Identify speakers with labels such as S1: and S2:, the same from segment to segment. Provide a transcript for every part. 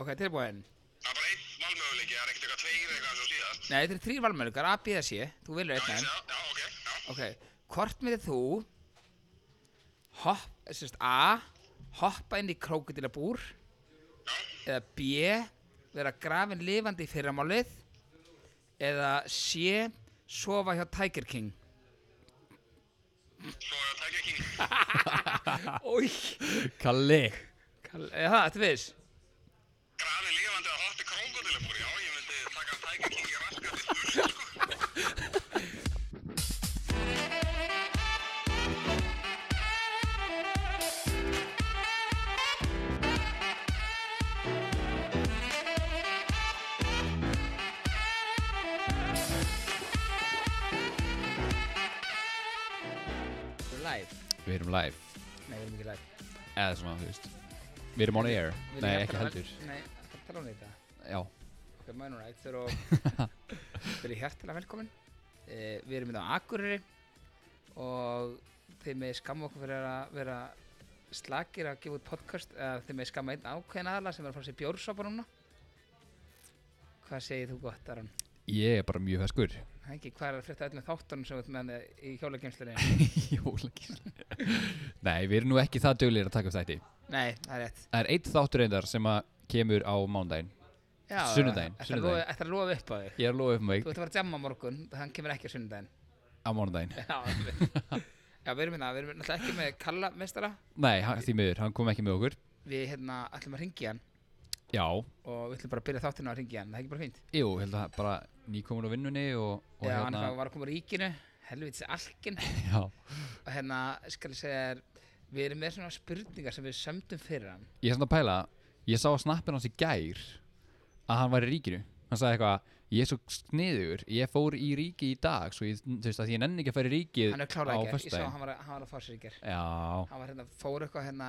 S1: Ok, tilbúin
S2: Það er bara einn valmöguleiki, það er ekkert eitthvað tveir eitthvað svo síðast.
S1: Nei, þetta eru þrýr valmöðlíkar, A, B eða C Þú velur
S2: Já,
S1: einn af
S2: ég
S1: þeim
S2: sé það. Já, ok, já.
S1: Ok, hvort myndir þú Hopp, sérst A Hoppa inn í krókudilabúr Eða B Vera grafin lifandi í fyrramálið Eða C Sofa hjá Tiger King
S2: Svo er það ekki king.
S1: Új
S3: Kalli
S1: Eða það, þetta eh, viss
S2: Grafi lifandi að hoppi krókodilabúr, já, ég myndi taka Tiger King í raskandi spurning, sko.
S1: Live
S3: Við erum live
S1: Nei, við erum ekki live
S3: Eða svona, þú veist Við erum on air
S1: Við
S3: Nei,
S1: erum
S3: ekki
S1: bara-
S3: heldur
S1: Nei, það tala um þetta
S3: Já
S1: Ok, maður núna, þetta er og Við erum hjartilega velkomin eh, Við erum í á Akureyri og þeir með skamma okkur fyrir að vera slakir að gefa út podcast eða þeir með skamma einn ákveðin aðla sem er að fara sér bjórsopa núna Hvað segir þú gott, Aron?
S3: Ég er bara mjög feskur
S1: Hengi, hvað er að frétta öll með þáttunum sem við erum með hann í hjólageimslinni?
S3: Jólagísl Nei, við erum nú ekki það döglegir að taka upp þætti
S1: Nei, það er rétt
S3: Það er eitt þáttur reyndar sem að kemur á mándaginn Sunnudaginn,
S1: Þetta er að
S3: sunnudaginn.
S1: lofa- ætlarðu að lofa upp á þig
S3: Ég er að lofa upp um mig
S1: Þú ert að fara að jamma á morgun, hann kemur ekki á sunnudaginn
S3: á mánudaginn
S1: Já, einmitt. Já, við erum hérna, við erum náttúrulega ekki með Kalla mestara
S3: Nei, hann, því miður, hann kom ekki með okkur
S1: við hérna ætlum að ringja hann
S3: Já,
S1: og við ætlum bara að byrja þáttinu að ringja hann, það er ekki bara fínt
S3: jú, held að bara nýkomin á vinnunni og, og hérna-
S1: Já, hann var að koma úr ríkinu, helvitis alkin
S3: Já,
S1: og hérna, skal ég segja þér við erum með svona spurningar sem við sömdum fyrir hann
S3: ég er svona að pæla Ég sá að snappin hans í gær að hann var í ríkinu Hann sagði eitthvað, ég er svo sniður Ég fór í ríki í dag Svo ég, þú veist að því ég nenni ekki að fara í ríkið
S1: hann er klárað ekki,
S3: á
S1: ég sá að
S3: föstudaginn."
S1: hann var, að- hann var að fá sér ekki
S3: Já,
S1: hann var hérna, fór eitthvað hérna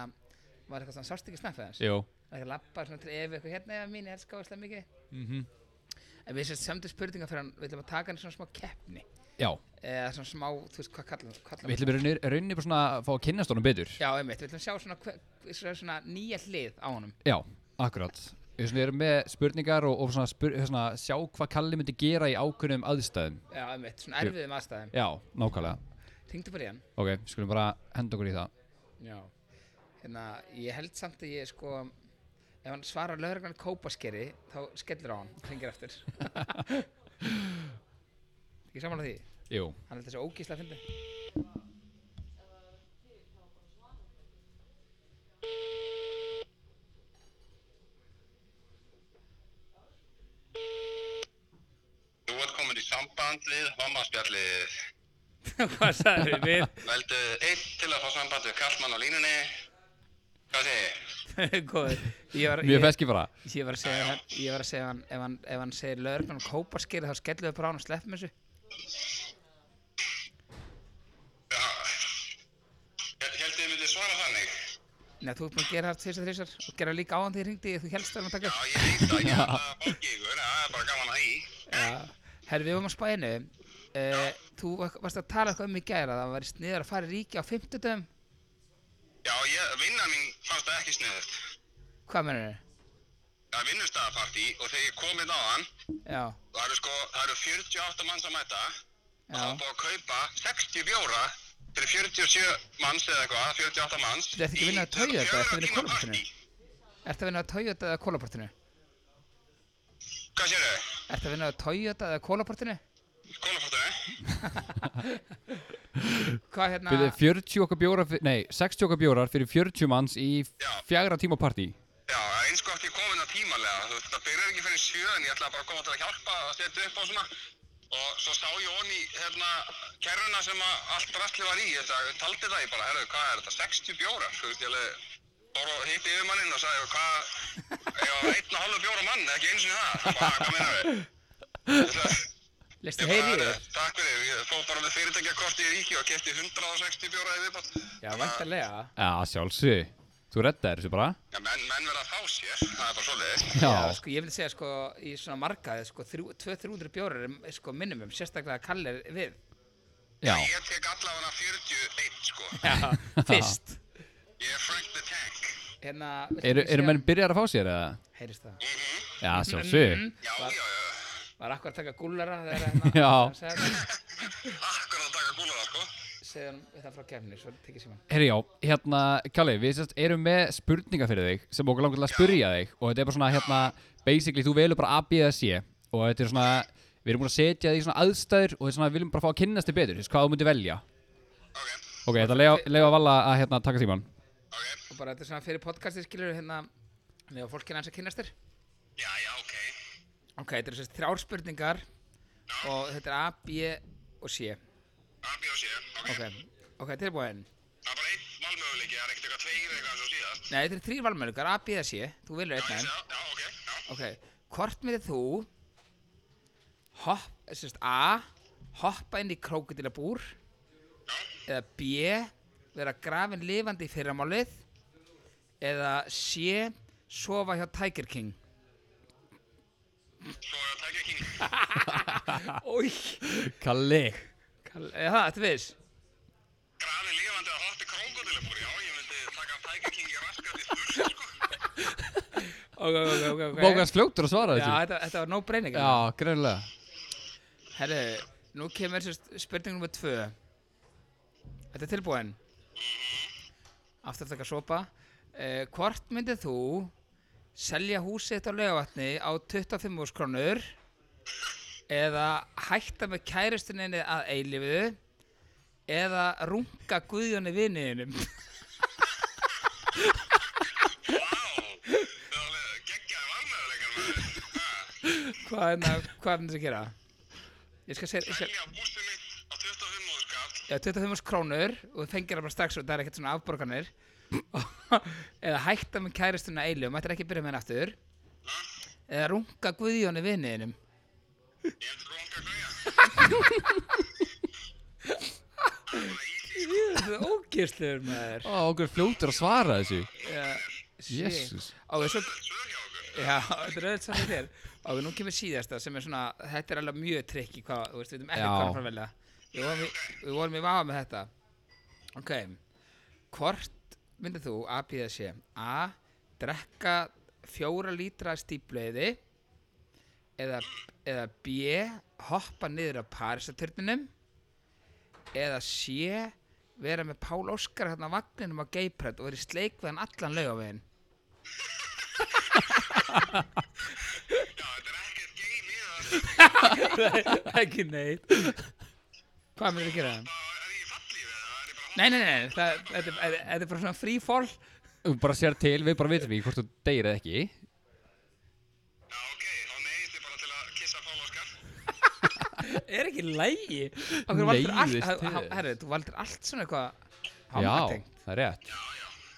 S1: var eitthvað svona sást ekki snappið hans
S3: jú
S1: og það lappaði svona til ef eitthvað hérna eða mín, ég elska óslega mikið
S3: mm
S1: en við sem sömdum spurningar fyrir hann, við ætlum að taka hann í svona smá keppni
S3: Já,
S1: eða svona smá, þú veist, hvað kallar kallar
S3: við ætlum í rauninni- rauninni bara svona að fá að kynnast honum betur
S1: Já, einmitt, við ætlum að sjá svona, hver, svona, svona nýja hlið á honum
S3: Já, akkurat Við svona erum með spurningar og, og svona, spur, svona sjá hvað Kalli myndi gera í ákveðnum aðstæðum
S1: Já, einmitt, svona erfiðum aðstæðum
S3: Já, nákvæmlega
S1: Ringdu bara í hann
S3: Ok, við skulum bara henda okkur í það
S1: Já Hérna, ég held samt að ég sko Ef hann svarar lögreglan kópaskeri Þá skellir á hann, hringir aftur Ekki saman á því
S3: Jú,
S1: Hann held þessi ógísla að fyndi
S2: Þú ert komin í samband við mammaspjallið.
S1: Hvað sagði við?
S2: Veldu eitt til að fá samband við kallmann á línunni. Hvað segir ég?
S1: Góður Ég var,
S3: mjög
S1: ég,
S3: feski bara
S1: ég var að segja hann, Ég var að segja hann Ef hann, ef hann segir lögreglan kópaskeri Þá skellir við bara á hann og sleppum þessu
S2: Já. Hjæltu þið myndið svara þannig?
S1: Nei, þú ert búin að gera það tvisar þrísar Og gera líka á hann þegar ég ringdi Þú helst að hann taka
S2: Já, ég veit það, ég er að bóki ykkur, en það er bara gaman að í.
S1: Já, herru við vorum að spæinu uh, Þú var- varst að tala eitthvað um í gæra Það var sniður að fara í ríki á fimmtudum
S2: Já, ég, vinnan mín fannst það ekki sniðugt.
S1: Hvað mennur þau?
S2: Það er vinnustæðapartí og þegar ég kom inn á hann,
S1: Já,
S2: það eru sko, það eru 48 manns að mæta og það
S1: já
S2: var búið að kaupa 60 bjóra fyrir 47 manns eða eitthvað, 48 manns.
S1: Þú ert ekki að vinna að tauga þetta, ertu að vinna í
S2: fjögurra tíma
S1: kólaportinu?
S2: partí.
S1: Ertu að vinna á Toyota eða kólaportinu?
S2: Hvað sér þau?
S1: Ertu að vinna á Toyota eða kólaportinu?
S2: Kólaportinu?
S1: Hvað hérna?
S3: Fyrir 40 okkar bjórar, fyr- nei, 60 okkar bjórar fyrir 40 manns í
S2: Já.
S3: fjagra tíma partí
S2: Já, eins og átti ég komin að tímalega, þú veist, það byrjar ekki fyrir sjö, en ég ætlaði bara að koma til að hjálpa að setja upp á svona. Og svo sá ég onni, hérna, kerruna sem að allt drastli var í, þetta, taldi það ég bara, herru, hvað er þetta, 60 bjórar, þú veist, ég alveg, fór og hitti yfir manninn og sagði, hvað, ég var einn og halvur bjóra mann, ekki eins og það, hann bara, hvað meina við? Ég sagði,
S1: Listu
S2: ég bara,
S1: heyri í
S2: "Herru,
S1: þér?
S2: Takk fyrir, ég fór bara með fyrirtækjakorti í ríki og kefti 160 bjóra í viðbót.
S1: Já, væntalega
S3: Já, sjálfsög Þú reddar þessu bara
S2: Já, menn, menn verða að fá sér, það er bara svoleiðis.
S3: Já,
S1: sko, ég vil segja sko í svona markaði sko, 200-300 bjórar er sko minimum sérstaklega að kalla við
S3: já,
S2: Ég tek allavega 41 sko.
S1: Já, fyrst
S2: Ég er Frank the Tank.
S1: Hérna,
S3: Eru, eru menn byrjar að fá sér eða?
S1: Heyrist það
S2: Mhm.
S3: Já, sjálfsög
S2: Já, já, já,
S1: Var akkur að taka gúllara þegar hérna
S3: Já.
S1: hann sagði það.
S2: akkurat að taka gúlara, sko.
S1: Segði hann þetta um frá kefni Svo tekið síman
S3: Herri já, hérna, Kjáli, við sérst erum með spurningar fyrir þig sem okkur langar til að spyrja þig og þetta er bara svona, hérna, basically, þú velur bara A, B eða C og þetta er svona, við erum búin að setja þig í svona aðstæður og þetta er svona, við viljum bara fá að kynnast þig betur, þú veist, hvað þú myndir velja
S2: Ok,
S3: Ok, þetta leiða að vala að, hérna, taka síman
S2: ok.
S1: Og bara þetta er svona fyrir podcasti skilur hérna Lefa fólkina hans að kynnast þér
S2: Já, já, ok.
S1: Ok, þetta eru sérst þrjár spurningar Og þetta er A, B og C
S2: A, B og C. Ok,
S1: Ok, ok, tilbúin
S2: það er bara einn valmöguleiki, það er ekkert eitthvað tveir eitthvað svo síðast.
S1: Nei, þetta eru þrýr valmöðlíkar, A, B eða C Þú velur einn af
S2: Já,
S1: þeim
S2: já, ok, já.
S1: Ok, hvort myndir þú Hopp, sérst A Hoppa inn í krókudilabúr Eða B Vera grafin lifandi í fyrramálið Eða C Sofa hjá Tiger King
S2: Svo er að tækja king.
S1: Új
S3: Kjáli
S1: Eða það, þetta viðs
S2: Grafi lifandi að hoppi krókodilabúr, já, ég myndi taka tækja king í raskat í stursi, sko.
S1: Ok, ok, ok, ok
S3: Bókast fljótur að svara
S1: Já,
S3: þessu
S1: þetta, þetta var no brainer
S3: Já, greinlega
S1: Herru, nú kemur sérst spurning nummer tvö. Þetta er tilbúin. Aftur að taka sopa. Uh, hvort myndið þú selja húsið þitt á laugavatni á 25 úrs krónur eða hætta með kæristuninni að eilífu eða runga guðjóni vinniðinum?
S2: Vá, það er alveg geggjaði valmöguleikar, maður. Ha,
S1: hvað er það, hvað er það að gera? Ég skal segja, ég skal,
S2: Velja bústið mitt á 25 móðurskall.
S1: eða 25 þúsund krónur og þú fengir það bara strax og það er ekkert svona afborganir eða hætta með kæristuna eilu og mættir ekki byrja með henni aftur eða runga guðjónu vinniðinum
S2: Ég hefði grónka gauja. Það er bara easy, sko.
S1: Þetta er ógeðslegur maður
S3: Ó, okkur fljótur að svara þessu
S1: Já, shit.
S3: Jesus.
S1: Á, við svo,
S2: Svör hjá okkur.
S1: já, þetta er auðvitað saman þér Á, við nú kemur síðasta sem er svona þetta er alveg mjög trikki hvað, þú veist, við veitum ekki
S3: Já.
S1: hvað hann fara að velja Við vorum, í- við vorum í vafa með þetta Ok Hvort myndið þú að býða sé A. Drekka fjóra lítra af stífleiði eða, eða B. Hoppa niður á Parísaturninum eða C. Vera með Pál Óskar hérna á vagninum á Geiprætt og vera í sleik við hann allan laugaveginn
S2: Já, þetta er ekkert game í það.
S1: Ekki neitt Hvað myndir þú gera það?
S2: Það er ég fallið við það, er ég bara
S1: Nei, nei, nei, það, þetta, er- þetta, þetta er bara svona free fall
S3: Þú bara sér til, við bara vitum ekki hvort þú deyr eða ekki
S2: Já, ok, þá neyðist ég bara til að kissa Pál Óskar.
S1: Er ekki lægi? Okkur valdur allt,
S3: Neyðist til
S1: ha-
S3: þess.
S1: herri, þú valdur allt svona eitthvað
S3: Já,
S1: hámatengt.
S3: það er rétt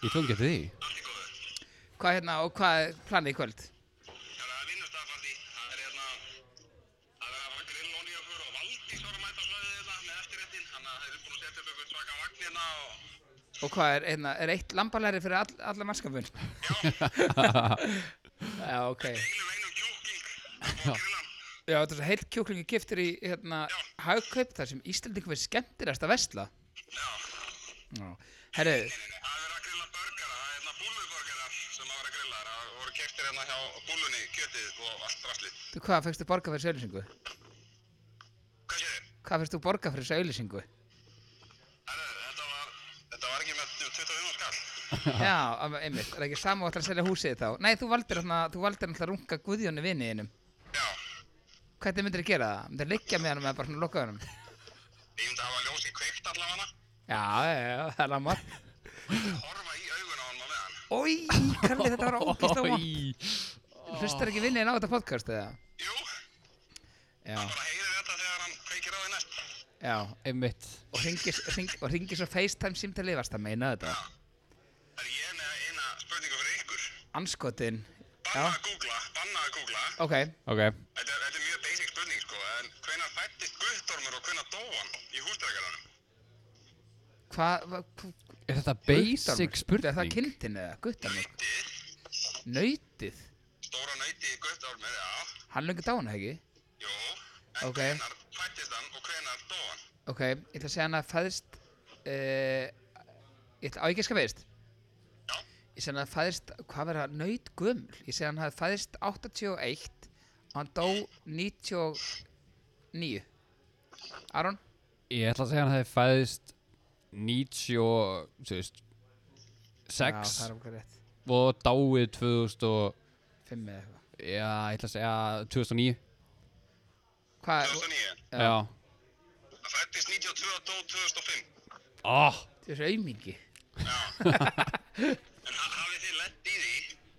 S3: Ég tók ekki eftir því
S2: Allt í góðu.
S1: Hvað hérna og hvað er planið í kvöld?
S2: Það er að vinnust aðfartí. Það er hérna, það er að fara grill og nýja fyrir og Valdís var að mæta á svæðið hérna með eftirréttin. Þannig að þeir eru búin að setja upp eitthvað svaka vagn hérna og
S1: Og hvað er, hérna, er eitt lambalæri fyrir all, alla mannskapun? Já, ok.
S2: deilum einum kjúking. um Það er búin að grilla hann.
S1: Já, þetta er svo heilt kjúklingi giftur í hérna, hagkaup þar sem Íslandingur verið skemmtilegast að vesla.
S2: Já,
S1: Já. Herru,
S2: það er verið að grilla burgara. Það er hérna búlubörgarar sem að vera að grilla. Það voru keftir hérna hjá búlunni, kjötið og allt rastlið.
S1: þú hvað fegstu borga fyrir söglysingu?
S2: Hvað séu þið?
S1: Hvað fegstu borga fyrir söglysingu?
S2: Þetta var, þetta var ekki með 25 skall.
S1: Já, am- einmitt, er ekki sama og ætlar að selja húsið þá Nei, þú valdir hérna, þú valdir hérna að runga Guðjónu vinniðinum
S2: Já,
S1: Hvernig myndir þið gera það? Myndir þið liggja með hann með bara svona lokaðunum?
S2: ég myndi að hafa ljósið kveikt allavega.
S1: Já, já, já, það er lamar
S2: Horfa í augun á hann á meðan.
S1: Ói, Karli, þetta var ógist á vant
S3: Í.
S1: Hlustar ekki vinniðin á þetta podcast eða?
S2: Jú,
S1: Já,
S2: bara heyrir þetta þegar hann kveikir á því næst.
S1: já
S3: Einmitt
S1: Og ringir, ring, og ringir svo FaceTime símtalið Varst að meina þetta?
S2: Það er ég með eina spurningu fyrir ykkur.
S1: Anskotin Já,
S2: Banna að googla, banna að googla.
S1: ok
S3: Ok
S2: Þetta er, þetta er mjög basic spurning sko, en hvenar fættist Guðdormur og hvenar dó hann í húsdregaranum?
S1: Hvað, hva,
S3: Er þetta basic spurning?
S1: Er það kindin eða? Guttarmur? Nautið?
S2: Stóra nöyti Guðdormur, já.
S1: Hann löngu dána, ekki?
S2: Jú. En
S1: Ok.
S2: hvenar fættist hann og hvenar dó hann?
S1: Ok, ég eh, ætla að segja hann að fæðist uh, Ég ætla á ekki að skafist
S2: Já.
S1: ég segi hann að fæðist, hvað verður það, nöyt gömul ég segi hann að fæðist 81 og hann dó 99 Aron,
S3: Ég ætla að segja hann hefði fæðist 90 og, þú veist,
S1: já
S3: 6
S1: það er okkur rétt
S3: og dáið 2000 og,
S1: 5 eða eitthvað
S3: já, ég ætla að segja 2009.
S1: hvað,
S2: 2009.
S1: Já.
S3: Já.
S2: Það fættist 92 og dó 2005.
S3: Ah,
S1: þú er raumingi
S2: En ha- hafið þið lett í því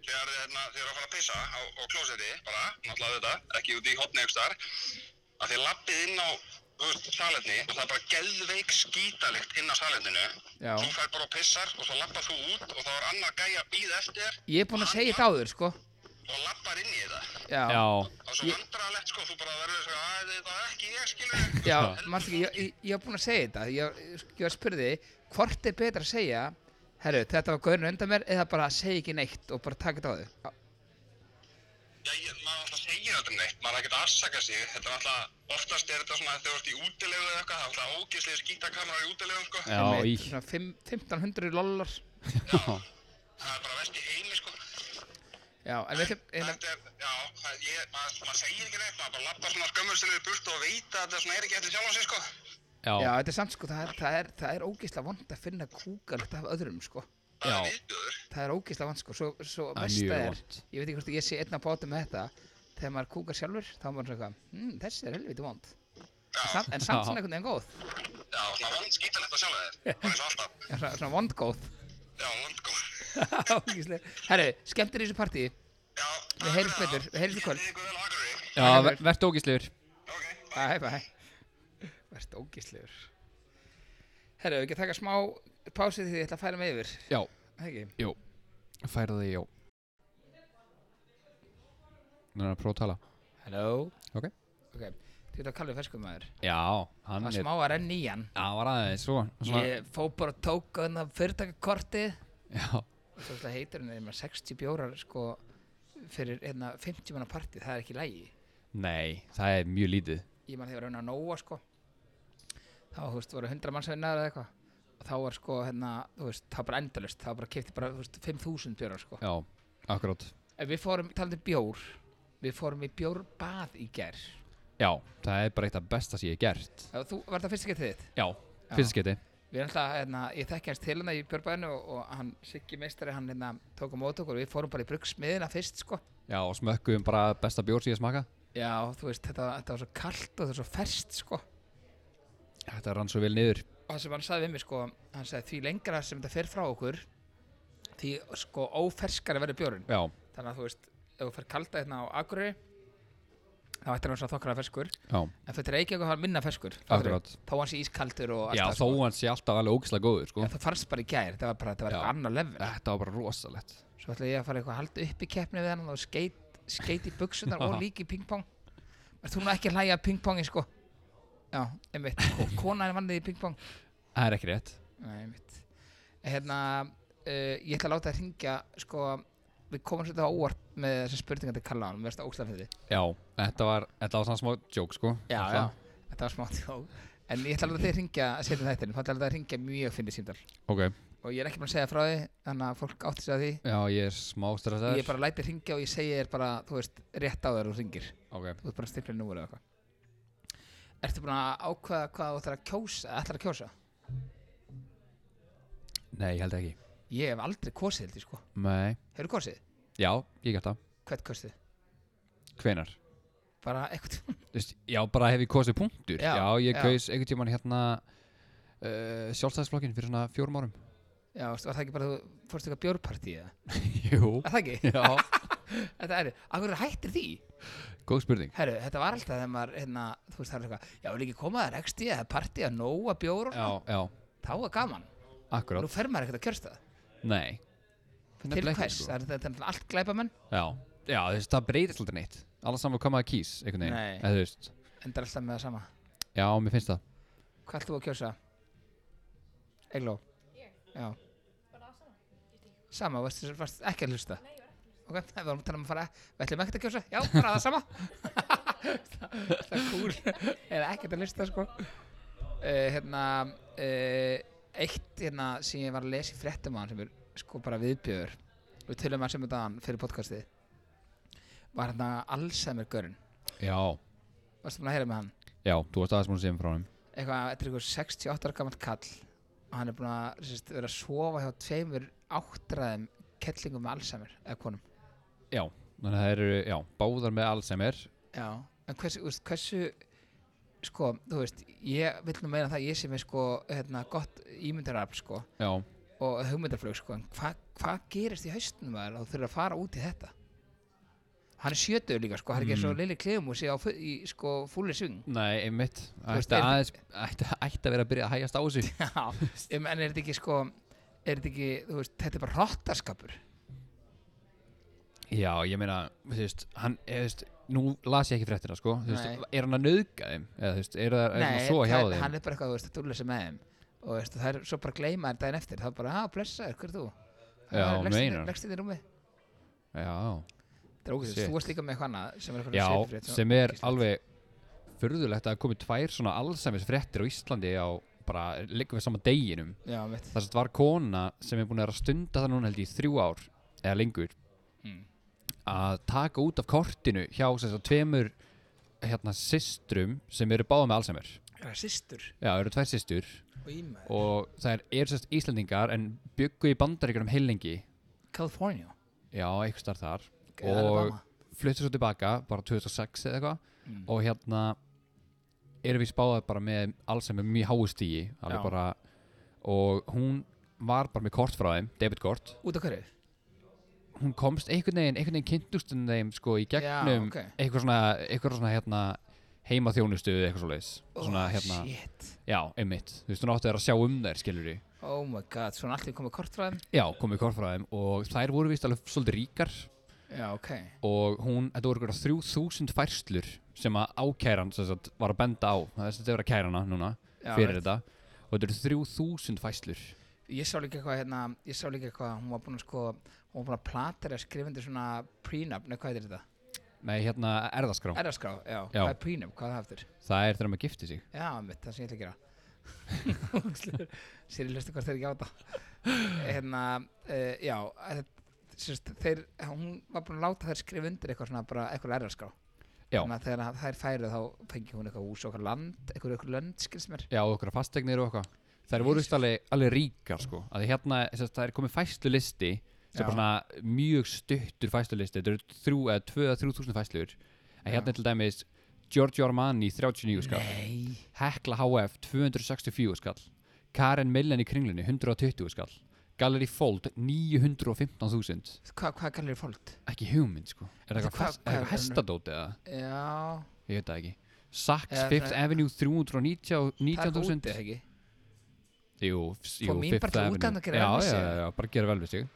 S2: þegar þið hérna, þið eru að fara að pissa á, á klósetti bara, náttúrulega þetta, ekki út í hotni ykkur starf, að þið lappið inn á þú veist, salerni og það er bara geðveik skítalikt inn á salerninu.
S1: Já.
S2: Þú fær bara og pissar og svo lappar þú út og þá er annar gæja að býða eftir þér
S1: ég er búinn að segja þetta áður sko
S2: og lappar inn í þetta.
S1: já, já,
S3: já.
S2: Það er svo vandrarlegt sko, þú bara verður svo að þetta er ekki ég skilur.
S1: já
S3: Já.
S1: manstu ekki, ég, ég, ég er búinn að segja þetta ég, ég var að spurði, hvort er betra að segja herru, þetta var gaurinn á undan mér eða bara að segja ekki neitt og bara taka þetta á þau Já,
S2: Já, ég, maður alltaf segir aldrei neitt, maður er ekkert að afsaka sig, þetta er alltaf, oftast er þetta svona þegar þú ert í útilegu eða eitthvað, það er alltaf ógeðslega skítakamrar í útilegu, sko.
S3: Já,
S1: einmitt,
S3: í.
S1: svona fimm- 1500 lollar
S2: Það er bara vest í heimi, sko.
S1: já, en við ætlum
S2: Þetta er, já, það, ég, maður, maður segir ekki neitt, maður bara lappar svona skömmur sinni burt og veit að þetta svona er ekki eftir sjálf á sig, sko.
S3: Já,
S1: Já,
S3: já,
S1: þetta er samt sko, það er, það er, það er ógeðslega vond að finna kúkalegt af öðrum sko.
S2: Það
S3: Já.
S2: er viðbjöður.
S1: Það er ógeðslega vond sko, svo, svo
S3: Það er
S1: mest
S3: mjög
S1: það er,
S3: vont.
S1: ég veit ekki hvort ég sé einn að báta með þetta, þegar maður kúkar sjálfur, þá er maður svona eitthvað, hm, þessi er helviti vond. En samt, en samt svona einhvern veginn góð,
S2: Já, svona vond skítalegt að sjálf þér, bara eins og alltaf.
S1: Já, svona, svona vond góð.
S2: Já, vond, sko.
S1: Ógeðslega. Herru, skemmtir í þessu partíi,
S2: Já,
S1: Við heyrumst betur, við heyrumst í kvöld.
S2: Ég ykkur vel á Akureyri.
S3: ver, vertu ógíslegur.
S2: Ok, bye.
S1: bæ bæ, verðst ógeðslegur. Herru, við ekki að taka smá pásið því ég ætla að færa mig yfir,
S3: Já,
S1: er það ekki?
S3: jú. Færa þig, jú. Nú er að prófa að tala.
S1: Hello.
S3: Ok.
S1: Ok, þú veit að kalla við ferskum maður,
S3: Já, hann
S1: það
S3: er,
S1: er smá að renna í hann.
S3: það var aðeins, svo, svona,
S1: Ég fó bara og tók hann af fyrirtakakortið
S3: já,
S1: og svo ætla heitir hann einhver 60 bjórar sko fyrir hérna 50 manna partí, það er ekki lægi
S3: nei, það er mjög lítið.
S1: ég man þegar raun að nóa sko þá þú veist voru 100 mannsveinar eða eitthvað og þá var sko hérna þú veist það var bara endalust, það var bara kefti bara þú veist 5000 bjórar sko
S3: Já, akkurát.
S1: en við fórum, talandi um bjór við fórum í bjórbað í ger
S3: Já, það er bara eitt af besta sem ég hef gert.
S1: þú var það fyrst ekki þitt
S3: Já, fyrsta skiti.
S1: Við erum alltaf, hérna, ég þekki hans til hérna í Björbæðinu og, og hann, Siggi meistari, hann hérna, tók á mót okkur og við fórum bara í bruggsmiðina fyrst, sko.
S3: Já, og smökkum bara besta bjór sem ég hef smakað.
S1: Já, þú veist, þetta, þetta var svo kallt og þetta var svo ferskt, sko.
S3: Þetta rann svo vel niður.
S1: Og það sem hann sagði við mig, sko, hann sagði því lengra sem þetta fer frá okkur, því, sko, óferskari verður bjórinn.
S3: Já,
S1: Þannig að, þú veist, ef þú fer kalda hérna á Akureyri, þá ætti hann að vera þokkara ferskur.
S3: já,
S1: En þetta er ekki eitthvað minna ferskur.
S3: Akkurát.
S1: Þó hann sé ískaldur og
S3: já,
S1: allt
S3: þó
S1: það, sko.
S3: hann sé alltaf alveg ógislega góður, sko.
S1: En það fannst bara í gær, þetta var bara, þetta var
S3: Já.
S1: eitthvað annar level.
S3: Þetta var bara rosalegt.
S1: Svo ætla ég að fara eitthvað að halda upp í keppni við hann og skeit, skeit í buksunar og líka í pingpong. Ert þú nú ekki að hlæja að pingpongi sko? Já, einmitt. Ko- Konan vannði í pingpong.
S3: Það er ekki rétt.
S1: Nei, einmitt. En Hérna, uh, ég ætla að láta það hringja, sko, við komum svolítið á óvart með þessar spurningar til Kalla hann, verðast að ógstlega fyrir því.
S3: Já, þetta var, þetta var svona smá joke, sko. Alltaf.
S1: Þetta var smátt, já. En ég ætla að láta þið hringja, að setja þetta þá ætla ég að láta það hringja mjög fyndið símdal.
S3: Ok,
S1: Og ég er ekki búin að segja frá því, þannig að fólk átti sig að því.
S3: já, ég er smá stressaður.
S1: Ég bara læti hringja og ég segi þér bara, þú veist, rétt á þér og hringir.
S3: Ok,
S1: þú ert bara að stifla númer eða eitthvað Ertu búin að ákveða hvað þú ætlar að kjósa ætlar að kjósa?
S3: nei, ég held ekki.
S1: Ég hef aldrei kosið held ég sko
S3: Nei.
S1: Hefur kosið?
S3: Já, ég gert það.
S1: Hvert kosið?
S3: Hvenar?
S1: Bara eitthvað
S3: Þú veist, já, bara hef ég kosið punktur.
S1: Já,
S3: Já, ég
S1: já.
S3: kaus einhvern tíman hérna uh, sjálfstæðisflokkinn fyrir svona fjórum árum.
S1: Já, veistu, var það ekki bara þú fórst eitthvað bjórpartí eða?
S3: Jú.
S1: Er það ekki?
S3: já,
S1: Þetta er, akkur hættir því?
S3: góð spurning.
S1: Herru, þetta var alltaf þegar maður, hérna, þú veist það er eitthvað Já, vil ekki koma það reksti eða partí að nóa bjór
S3: Já, já,
S1: Þá er gaman Nú
S3: akkurát.
S1: fer maður ekkert að kjörstað
S3: Nei.
S1: Til
S3: Nefnilega ekki,
S1: hvers?
S3: sko.
S1: Það er þetta er allt glæpamenn
S3: Já, já, þú veist, það breytist aldrei neitt. Alla saman komaða kýs, einhvern veginn.
S1: Nei.
S3: Eða, þú veist,
S1: Endar alltaf með það sama
S3: já, mér finnst það.
S1: Hvað ætlum þú að kjósa? Egló? Ég? Já. Bara það sama? Sama, varstu, varstu ekki að hlusta? Nei, ég var ekki að hlusta. Ok, við varum að tala um að fara, við ætlum ekkert að kjósa? Já, bara það sama. það, það er cool. Eða ekkert að hlusta, sko. Uh, hérna, eh, uh, eitt hérna sem ég var að lesa í fréttum á hann sem er sko bara viðbjöður við tölum að sem þetta fyrir podcastið var hérna Alzheimer görun
S3: Já,
S1: varstu búin að heyra með hann
S3: já, þú varst aðeins múin að segja mér frá honum
S1: eitthvað, þetta er eitthvað 68 ára gammal kall og hann er búin að sérst, vera að sofa hjá tveimur áttræðum kettlingum með Alzheimer eða konum
S3: Já, þannig að það eru, já, báðar með Alzheimer
S1: Já, en hversu, þú veist, hversu sko, þú veist, ég vil nú meina það að ég sem er sko, hérna, gott ímyndarafl sko,
S3: Já,
S1: og hugmyndarflug sko, en hvað hva gerist í haustunum að þú þurfur að fara út í þetta hann er sjötur líka sko, hann er ekki
S3: Mm.
S1: svo lili klefum og sé á fu- í sko fúli sving
S3: nei, einmitt
S1: veist,
S3: Ætti
S1: er-
S3: aðeins, ætti, ætti að vera að byrja að hægjast á sig
S1: Já, em, en er þetta ekki sko er þetta ekki, þú veist, þetta er bara hrottaskapur
S3: Já, ég meina, þú veist, hann, eða, þú veist, nú las ég ekki fréttina, sko, þú
S1: Nei.
S3: veist, er hann að nauðga þeim, eða, þú veist, er það, er hann að svo hjá
S1: það-
S3: þeim?
S1: hann er bara eitthvað, þú veist, að dúlega sem með þeim og þú veist, það er svo bara að gleyma þér daginn eftir það er bara, að blessa þér, hver er þú?
S3: Já, meinar.
S1: Leggst þér í rúmi
S3: Já,
S1: Það er ógæðið,
S3: Shit.
S1: þú varst líka með eitthvað annað sem er eitthvað
S3: já,
S1: svipfrétt
S3: sem er alveg furðulegt að komi tvær svona allsæmis fréttir á Íslandi á, bara, liggum við sama deginum,
S1: Já, mitt
S3: þar sem þetta var kona sem er búin að vera að stunda það núna held ég í þrjú ár, eða lengur,
S1: Mm.
S3: að taka út af kortinu hjá, sem sagt, tveimur, hérna, systrum sem eru báða með allsæmir.
S1: Það er sýstur
S3: Já, eru tvær systur
S1: og ímaður
S3: og það eru sérst Íslandingar en byggu í bandaríkjunum heilengi
S1: California
S3: já, einhvers starf þar
S1: Og
S3: og
S1: Alabama.
S3: fluttu svo tilbaka bara 2006 eða eitthvað
S1: Mm.
S3: og hérna erum við spáðað bara með alls sem er mjög háustígi
S1: Já.
S3: alveg bara og hún var bara með kort frá þeim debitkort,
S1: Út af hverju?
S3: hún komst einhvern veginn einhvern veginn kynntustunum þeim sko í gegnum
S1: ok.
S3: eitthvað svona, eitthvað svona hérna heima þjónustu eða eitthvað svo leiðis svona
S1: Oh,
S3: hérna,
S1: Shit
S3: já, einmitt þú veist, hún átti að vera að sjá um þær, skilur
S1: Oh my god, svona allir komið kort frá þeim
S3: Já, komið kort frá þeim og þær voru vist alveg svolítið ríkar
S1: Já, ok
S3: og hún, þetta voru ykkur 3000 færslur sem að ákæran sem sagt, var að benda á, þess að þetta er að kæra hana núna
S1: Já,
S3: fyrir
S1: veit.
S3: þetta og þetta eru 3000 færslur
S1: Ég sá líka eitthvað hérna Ég sá líka eitthvað Hún var búin að sko Hún var búin að plata þér skrifandi svona prenup Nei, hvað heitir þetta?
S3: Nei, hérna erðaskrá,
S1: Erðaskrá, já
S3: Já.
S1: Hvað er prenup? Hvað er það eftir?
S3: það er þegar maður gifti sig
S1: Já, mitt, það sem ég ætla að gera Sýri hlustu hvort þeir ekki á það Hérna, uh, já eh, sérst, þeir, hún var búin að láta þær skrifa undir eitthvað svona bara eitthvað erðarskrá
S3: Já.
S1: Þannig að þegar þær færu þá fengi hún eitthvað hús og eitthvað land eitthvað eitthvað lönd, skils mér
S3: Já, okkur að fastegnir og okkar Þær voru vist alveg, alveg ríkar sko að því hérna, þess að það er komið færslulisti sem er
S1: Já.
S3: bara svona mjög stuttur færslulisti, þetta eru þrjú eða tvö eða þrjú þúsund færslur að hérna er til dæmis Giorgio Armani 39 skall
S1: Nei,
S3: Hekla HF 264 skall Karen Millen í kringlunni 120 skall Gallery Fold 915.000
S1: hvað hva kallir fólk?
S3: ekki hugmynd sko er það
S1: Veitu
S3: eitthvað
S1: hvað-
S3: fest- er það
S1: hvað-
S3: eitthvað hestadóti eða
S1: Já,
S3: ég veit það ekki Saks
S1: Eða
S3: Fifth
S1: það-
S3: Avenue
S1: það er úti
S3: 319.000
S1: ekki
S3: jú, f- jú,
S1: mín bara
S3: Fifth
S1: til útlanda
S3: Avenue
S1: og gera
S3: já,
S1: vel við
S3: já,
S1: sig.
S3: já, já, bara gera vel við sig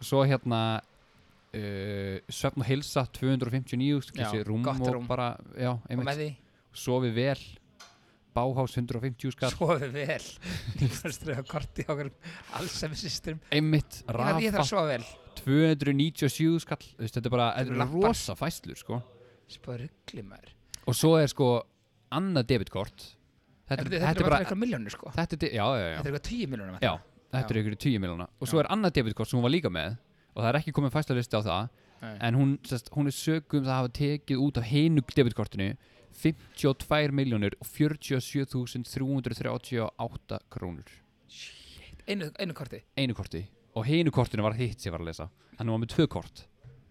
S3: svo hérna uh, Svefn og Hilsa 259
S1: Já,
S3: kissi rúm
S1: gott
S3: og
S1: rúm.
S3: bara já,
S1: Og með
S3: einmitt,
S1: því,
S3: sofi vel Báhás 150 skall
S1: sofið vel Ég var að strefa korti á okkur Alzheimer systrum
S3: einmitt
S1: Ég þarf- ég þarf
S3: Rafa
S1: að sofa vel
S3: 297 skall þú veist, þetta er bara,
S1: Þetta
S3: þetta
S1: eru
S3: er
S1: lappar.
S3: rosa fæslur sko.
S1: Spáðu ruggli maður
S3: og svo er sko annað debitkort þetta,
S1: En
S3: er-
S1: Þetta
S3: þetta er
S1: bara
S3: bara
S1: eitthvað miljónir sko
S3: þetta er, di- já, já, já,
S1: Þetta er eitthvað 10 miljónum
S3: já, þetta er ykkur 10 miljóna og svo
S1: Já.
S3: er annað debitkort sem hún var líka með og það er ekki komin fæslalisti á það en hún, sest, hún er sögum það að hafa tekið út af hinug debitkortinu 52 miljónir og 47.338 krónur
S1: einu, einu korti
S3: einu korti og hinu kortinu var hitt sem ég var að lesa hann var með tvö kort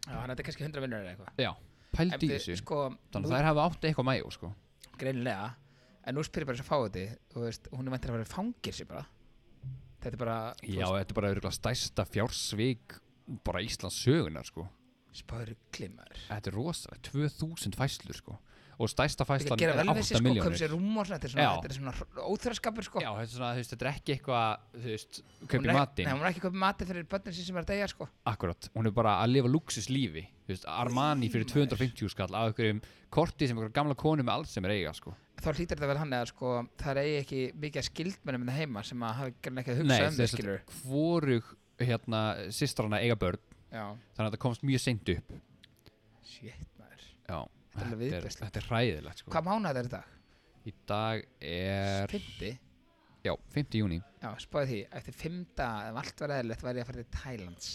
S1: já, hann þetta er kannski 100 vinnur eða eitthvað
S3: já, pældi í
S1: En
S3: þessu
S1: sko,
S3: þannig
S1: nú-
S3: að þær hafa átt eitthvað mæjó sko
S1: greinilega en nú spyrir bara þess að fá þetta þú veist, hún er vantur að vera fangir sér bara þetta er bara
S3: Já, þetta er bara örugglega stærsta fjársvík bara Íslands sögunar sko.
S1: spáður klimaður
S3: Þetta er rosalega, 2000 fæslur sko. og
S1: þetta
S3: stærsta fæslan
S1: gera
S3: er
S1: vel við
S3: 8
S1: sér sko, komið
S3: miljónir
S1: sér rúm og svona þetta er svona,
S3: Já.
S1: þetta er svona óþraskapur sko
S3: Já, þetta er svona, þú veist, þetta er ekki eitthvað þú veist,
S1: Hún
S3: kaupir
S1: er-
S3: matinn
S1: nei, hún er ekki kaupið mati fyrir börnin sín sem er að deyja sko
S3: Akkurat, hún er bara að lifa luxuslífi Þú veist, Armani fyrir 250 skall af einhverjum korti sem einhverjum gamla konu með alls sem er eiga sko.
S1: þá hlýtur þetta vel hann eða sko það er ekki mikið að skildmennum það heima sem að hafa gerðin ekki að hugsa um það skilur
S3: hvorug hérna, sýstrana eiga börn
S1: já,
S3: þannig að þetta komst mjög seint upp
S1: shit maður
S3: Já,
S1: Þetta er alveg
S3: þetta er,
S1: viðbjóðslegt.
S3: þetta er hræðilegt sko.
S1: hvað mánuð þetta er
S3: Í dag
S1: í dag?
S3: er,
S1: 50?
S3: já, 5. júni
S1: Já, spáði því, eftir fimm daga ef allt var eðlilegt væri ég að fara til Thailands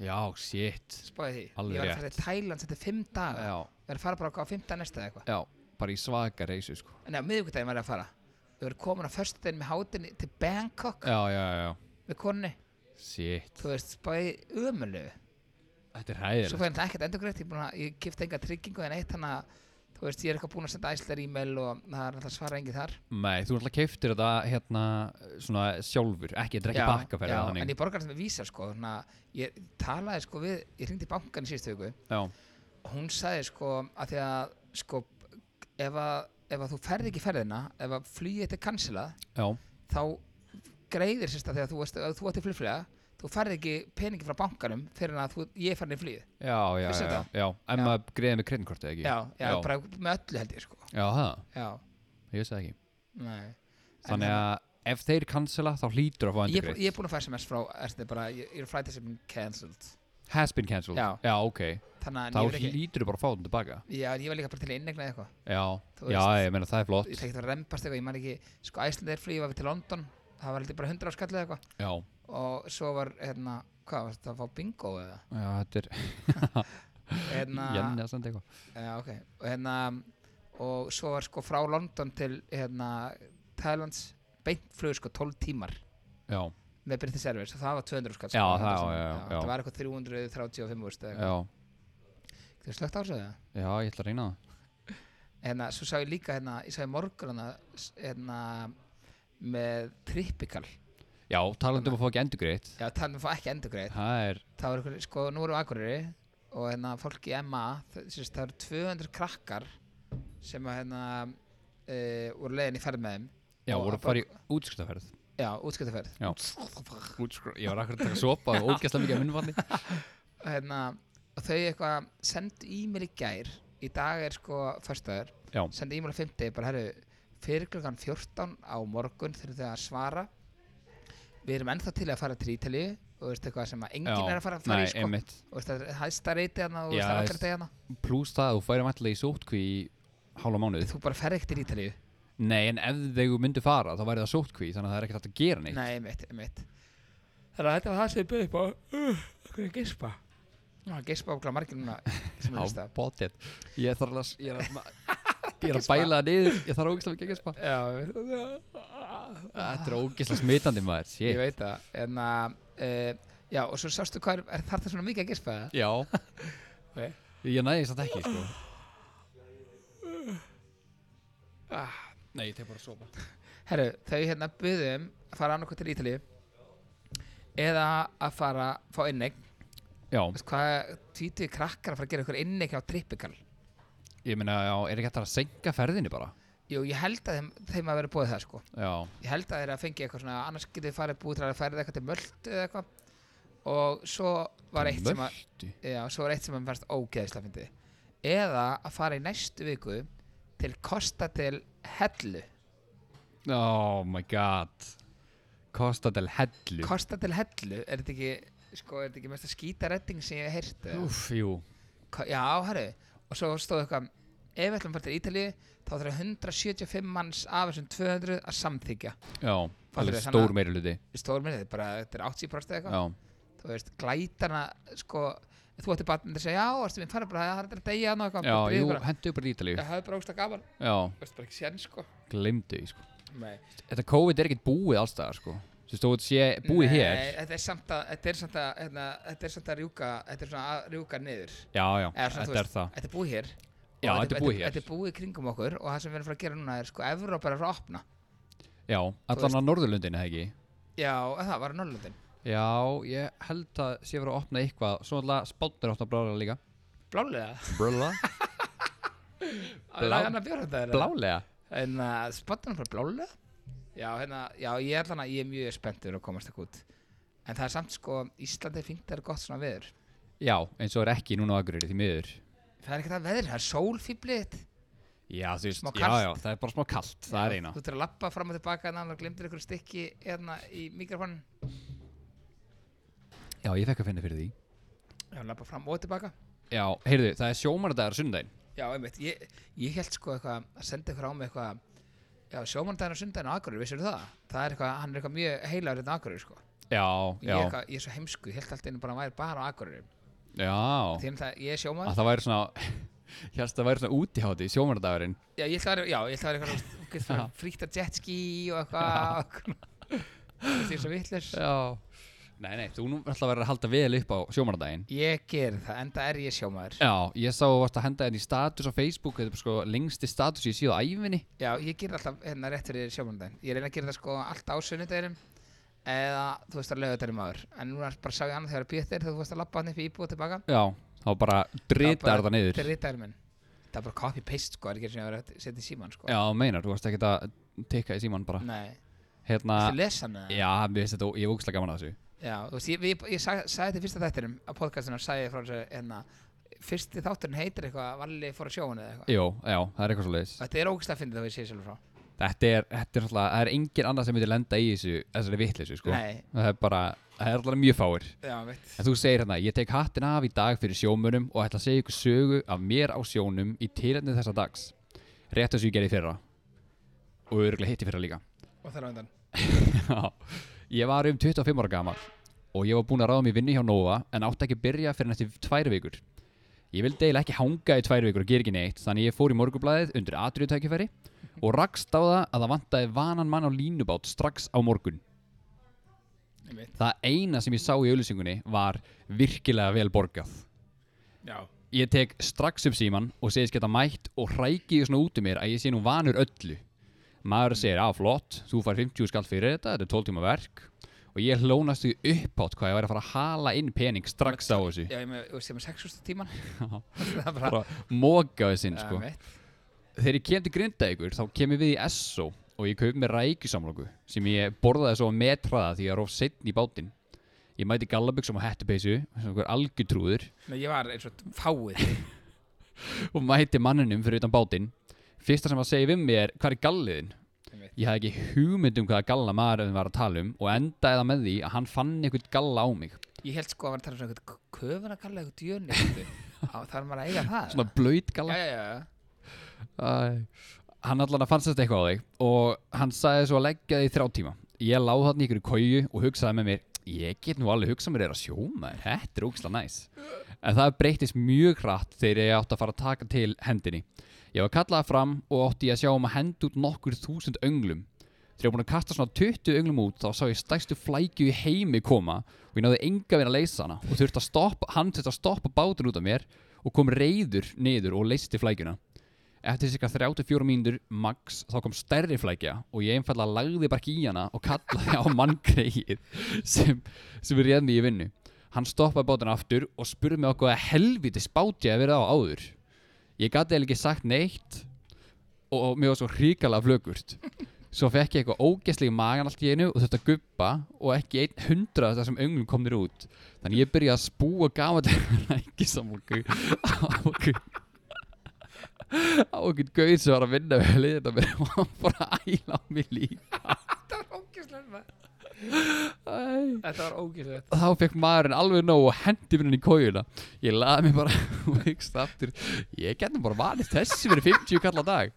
S3: Já, shit
S1: spáði því
S3: Alveg
S1: ég var að
S3: rétt.
S1: fara til Thailand þetta er fimm daga
S3: Já,
S1: ég var að fara bara á fimmta næsta eða eitthvað
S3: já, bara í svaka reysu sko
S1: en á miðvíkudaginn var ég að fara við vorum komin á föstudaginn með hátinni til Bangkok
S3: Já, já, já,
S1: með konni
S3: shit
S1: þú veist spáði ömulu
S3: Þetta er
S1: svo
S3: hæðilegt
S1: fæði þetta ekkert endur greitt ég, er búinn að- ég kipti enga tryggingu en eitt þannig að þú veist ég er eitthvað búin að senda æslar e-mail og það er alltaf svara engi þar
S3: Nei, þú náttúrulega keiftir þetta hérna svona sjálfur Ekki, þetta er ekki bakkaferð
S1: já,
S3: eða
S1: en
S3: þannig
S1: ég borgar þetta með vísa sko þannig að ég talaði sko við ég ringdi í bankan í síðustu viku
S3: Já,
S1: og hún sagði sko að því að sko ef að, ef að þú ferð ekki ferðina ef að flugið þetta er cancelað
S3: já,
S1: þá greiðir sérst að þegar þú, veist, ef þú ætti flugflega þú ferð ekki peningi frá bankanum fyrir en að þú, ég er farin í flugið já,
S3: já, já,
S1: Vissi
S3: já,
S1: þetta?
S3: já. En
S1: Já.
S3: maður greiði með kredinkortið, ekki?
S1: já,
S3: já,
S1: bara með öllu held ég sko
S3: já, það,
S1: já,
S3: ég vissi það ekki
S1: nei En
S3: Þannig að ef þeir cancela þá hlýtur að fá
S1: ég,
S3: endurgreitt
S1: hérna- ég er búin að fá sms frá erst, bara, ég, ég er flight has been cancelled
S3: Has been cancelled
S1: Já.
S3: ok
S1: þannig
S3: Þá
S1: að en ég, var ekki,
S3: hlýtur þú bara að fá þetta tilbaka
S1: já, en ég var líka bara til að innegna eitthvað
S3: Já,
S1: Þú
S3: já,
S1: veist.
S3: ég meina það er
S1: ég
S3: flott
S1: tekið það að rempast eitthvað, ég man ekki sko Æsland er flýið, var við til London það var heldur bara 100 áskallið eitthvað
S3: Já,
S1: og svo var, hérna, hvað varst það að fá bingo eða
S3: já, þetta er
S1: hérna,
S3: Jenny að senda eitthvað
S1: já, ok og hérna, og svo var sko frá London til, hérna, Thailands beint flug sko 12 tímar
S3: Já,
S1: með British Airways og það var 200 skall sko,
S3: Já,
S1: þetta
S3: það-
S1: sem-
S3: já, já, já.
S1: það var eitthvað 335 úrst eða
S3: já,
S1: eitthvað þú slögt á þessu eða?
S3: já, ég ætla að reyna það
S1: hérna, svo sá ég líka, hérna, ég sá ég morgun hérna, s- hérna með Tripical
S3: Já, talandi um að fá ekki endurgreitt
S1: já, þannig að fá ekki endurgreið
S3: Það er,
S1: það var eitthvað, sko, nú erum við akkurýri og hérna fólk í MA þ- sem sagt, það eru 200 krakkar sem að hérna uh, voru leiðin í ferð með þeim
S3: já,
S1: Og
S3: voru
S1: að
S3: að fara í útskriftaferð
S1: já, útskiptaferð
S3: Já.
S1: og
S3: Útskrift, ég var akkur að taka sopa og ógæsla mikið að minnfalli
S1: hérna, og þau eitthvað sendu e-mail í gær í dag er sko föstaður,
S3: Já,
S1: sendu e-mail á 50 bara herru, fyrir klukkan 14 á morgun þurfum þau að svara við erum ennþá til að fara til Ítalíu og veist eitthvað sem að enginn
S3: já,
S1: er að fara, fara
S3: nei,
S1: í sko
S3: einmitt
S1: og veist það er hæsta reyti hérna og
S3: Já,
S1: veist það er
S3: veist-
S1: okkar degina
S3: Plús það að þú færi mættilega í sótkví í hálfa mánuð
S1: þú bara ferð ekkert til Ítalíu
S3: Nei, en ef þau myndu fara þá væri það sótkví þannig að það er ekkert hægt að gera neitt
S1: Nei, einmitt, einmitt Þannig að þetta var það sem ég byrði upp á uh, Hvað er gespa? Já, gespa okkur margir núna sem er
S3: Já,
S1: hlusta
S3: bóttið Ég þarf að, ég er að, ma- ég er að bæla það niður Ég þarf að ógislega mikið að gespa
S1: Já, ég veit-
S3: Þetta er ógislega smitandi maður
S1: ég
S3: shit.
S1: veit það En að, uh, já, og svo sástu hvað er, er þarf það svona mikið að gespa það?
S3: Já,
S1: Okay.
S3: ég næði þess að ekki sko.
S1: Ah,
S3: Nei, ég tek bara að sopa
S1: herru, þau hérna byðum að fara annað til Ítalíu eða að fara, fá innegn
S3: Já,
S1: Veist hvað, tvítuði krakkar að fara að gera ykkur innegn á Tripical
S3: ég meina, já, er ekki hægt að senka ferðinni bara
S1: Jú, ég held að þeim, þeim að vera búið það, sko
S3: Já,
S1: ég held að þeirra fengi eitthvað svona annars getið þið farið búið til að færið eitthvað til möldu eða eitthvað og svo var eitt sem að
S3: möltu
S1: já, svo var eitt sem að mér fannst ógeðislega fyndið eða að fara í næstu viku til Kosta til Hellu
S3: Oh my god Costa del Hellu
S1: Kosta til Hellu, er þetta ekki sko, er þetta ekki mesta skítaredding sem ég hef heyrt eða?
S3: Úf, jú
S1: Ko- já, herru, og svo stóð eitthvað ef við ætlum að fara til Ítalíu þá þarf 175 manns af þessum 200 að samþykja
S3: Já, alveg
S1: þér,
S3: stór
S1: þannig-
S3: meiri hluti
S1: stórmennið, þetta er bara þetta er 80% eða eitthvað
S3: Já,
S1: þú veist, glætana sko, þú ætti bara að segja já, erstu mín fara bara, það er að deyja hann og eitthvað
S3: já
S1: bara
S3: jú,
S1: drífðu bara."
S3: hentu upp í Ítalíu sko.
S1: ég hafði bara ógst að gaman,
S3: Já,
S1: þú veist bara ekki sén sko
S3: glemdu því sko
S1: nei,
S3: Þetta COVID er ekkert búið allstaðar sko Þú veist, þú sé búið hér
S1: þetta er samt að, þetta er samt að, hérna, þetta er samt að rjúka þetta er svona að rjúka niður
S3: Já, já,
S1: Eða svona, þú
S3: þetta er
S1: veist,
S3: það
S1: þetta er búið hér og
S3: Já, þetta er búið hér.
S1: þetta er búið í kringum okkur og það sem við erum frá að gera núna er sko, Evrópa er að fara að opna
S3: Já, allan á
S1: veist-
S3: Norðurlundin eða ekki
S1: já, en það var á Norrlöndin
S3: Já, ég held að sé verið að opna eitthvað Svo alltaf spátnir átt að brála líka
S1: blálega,
S3: Brula?
S1: að laga hann að bjóra þetta er það?
S3: Blálega?
S1: en uh, spottanum bara blálega já, hérna, já, ég er allan að ég er mjög spennt fyrir að komast ekki út en það er samt sko, Íslandi fengt er gott svona veður
S3: Já, eins og er ekki núna á Akureyri því miður
S1: það er ekki það veður, það er sólfýblið
S3: Já, þú veist,
S1: Smá
S3: já,
S1: kalt.
S3: já, það er bara smá kalt, það er eina
S1: þú ert að lappa fram og tilbaka en annar glemdir ykkur stykki hérna í mikrofon
S3: Já, ég fekk að finna fyrir því
S1: já, lappa fram og tilbaka
S3: Já, heyrðu, það er sjómaradagur sundaginn
S1: já, einmitt, ég, ég held sko eitthvað að senda ykkur á mig eitthvað já, sjómandaginn og sundaginn á Akureyri, vissir það? það er eitthvað, hann er eitthvað mjög heilagur hérna á Akureyri sko
S3: já,
S1: Ég,
S3: já,
S1: er eitthvað- ég er svo heimsku, ég held alltaf einu bara að væri bara á Akureyri
S3: já
S1: Þeim það, ég er sjómaður
S3: Að það væri svona Hérst það væri svona útihátti, sjómarandagurinn
S1: Já, ég ætla að vera, já, ég ætla að vera eitthvað fríkt að jetski og eitthvað Þetta er svo vitleis
S3: Já Nei, nei, þú nú ætla að vera að halda vel upp á sjómarandaginn
S1: Ég ger það, enda er ég sjómaður
S3: Já, ég sá að þú varst að henda henni í status á Facebook Þetta er bara sko lengsti status ég síða á æfinni
S1: Já, ég ger alltaf hérna rétt fyrir sjómanundaginn Ég reyna að gera það sko allt á sunnudaginum eða þú veist að lögðu þetta um aður en núna bara sá ég annað þegar að býta þér þegar þú veist að labba hann upp í íbúð og tilbaka
S3: Já, þá bara dritar það niður
S1: Þetta er rítar minn Það er bara copy paste sko, það er ekki einu sinni að vera að setja í síman sko
S3: Já, meinar, þú varst ekkert að tikka í síman bara
S1: Nei,
S3: Hérna,
S1: þú lesa hann eða?
S3: já, mér finnst þetta, ég er ógustlega gaman að þessu
S1: Já, þú veist, ég, ég, ég sagði, sagði þetta í fyrsta þættinum á podcastinu sagði ég frá þessu hérna Fyrsti þátturinn heitir eitthvað, Valli fór að sjóa hann eða eitthvað
S3: Jú, já, það er eitthvað svo leiðis
S1: Þetta er ógæslega að finna það að ég sé sjálfur frá
S3: Þetta er, þetta er alltaf, það er engin annað sem myndi lenda í þessu, þessari vitleisu, sko
S1: Nei.
S3: Það er bara, það er alltaf mjög fáir
S1: Já, veit
S3: En þú segir hérna, ég tek hattin af í dag fyrir sjómunum og ætla að segja ykkur sögu af mér á sjónum í tilhætni þessa dags. Rétt þessu ég gerði í fyrra. Og örgulega hitti fyrra líka.
S1: Og þar á undan
S3: Já. ég var um 25 ára gammal og ég var búinn að ráða mér vinnu hjá Nova en átti ekki að byrja fyrir næstu tvær vikur. Ég vildi eiginlega ekki hanga í tvær vikur og gera ekki neitt þannig ég fór í morgublaðið undir atriðutækifæri og rakst á það að það vantaði vanan mann á línubát strax á morgun.
S1: Ég veit
S3: Það eina sem ég sá í auðlýsingunni var virkilega vel borgað.
S1: Já
S3: Ég tek strax upp síman og segist geta mætt og hræki ég svona út um mér að ég sé nú vanur öllu. Maður segir, að flott, þú fær 50 skall fyrir þetta, þetta er 12 tíma verk og ég hlónast því uppátt hvað ég væri að fara að hala inn pening strax á þessu.
S1: Já, ég með, þú veist, ég með 6.000 tíman Það er bara
S3: Bara móka þessin,
S1: Já,
S3: sko.
S1: veit
S3: Þegar ég kem til Grindavíkur þá kem ég við í SO og ég kaup með rækjusamlóku sem ég borðaði svo að metraða því ég er of setn í bátinn. Ég mæti gallaböksum og hettupeysu, sem okkur algjutrúður
S1: Nei, ég var eins og fáið
S3: og mæti manninum fyrir utan bátinn fyrsta sem að segja við mig er hvað er galliðin
S1: Einmitt.
S3: ég hafði ekki hugmynd um hvaða galla maðurinn var að tala um og endaði það með því að hann fann einhvern galla á mig
S1: Ég held sko að vera að tala um svona eitthvað köfuna kalla eitthvað djörni Það er maður að eiga það
S3: svona blöyt
S1: Já,
S3: galla
S1: já, já
S3: Æ. hann allan að fannst þetta eitthvað á þig og hann sagði svo að leggja þig í þrjá tíma ég láð hann í einhverju kóju og hugsaði með mér ég get nú alveg hugsað mér er að sjóma þetta er ógislega næs en það breytist mjög hratt þegar ég átti að fara að taka til hendinni ég var kallaða fram og átti ég að sjá um að henda út nokkur þúsund önglum þegar ég var búin að kasta svona 20 önglum út þá sá ég stæstu flækju í heimi koma og ég náði enga verið að leysa hana og þurfti að stoppa, hann þurfti að stoppa bátun út af mér og kom reyður niður og leysti flækjuna eftir cirka 34 mínútur max þá kom stærri flækja og ég einfallega lagði bara ekki í hana og kallaði á manngreið sem, sem réð mig í vinnu hann stoppaði bátana aftur og spurði mig okkur að helviti spáti að vera á áður ég gati eða ekki sagt neitt og, og mér var svo hrikalega flögurt svo fekk ég eitthvað ógæslega magan allt í einu og þetta guppa og ekki einn hundra þessar sem önglum komnir út þannig ég byrjaði að spúa gamallega ekki samlokku á okkur á okkur gauð sem var að vinna við liðin að mér og hann bara að æla á mig líka
S1: Þetta var ógæslega maður.
S3: Æ.
S1: Þetta var ógæslega
S3: þá fekk maðurinn alveg nóg og hendi mér henni í kójuna ég laði mig bara og hyggst aftur ég gæti bara vanist þessi fyrir 50 kall á dag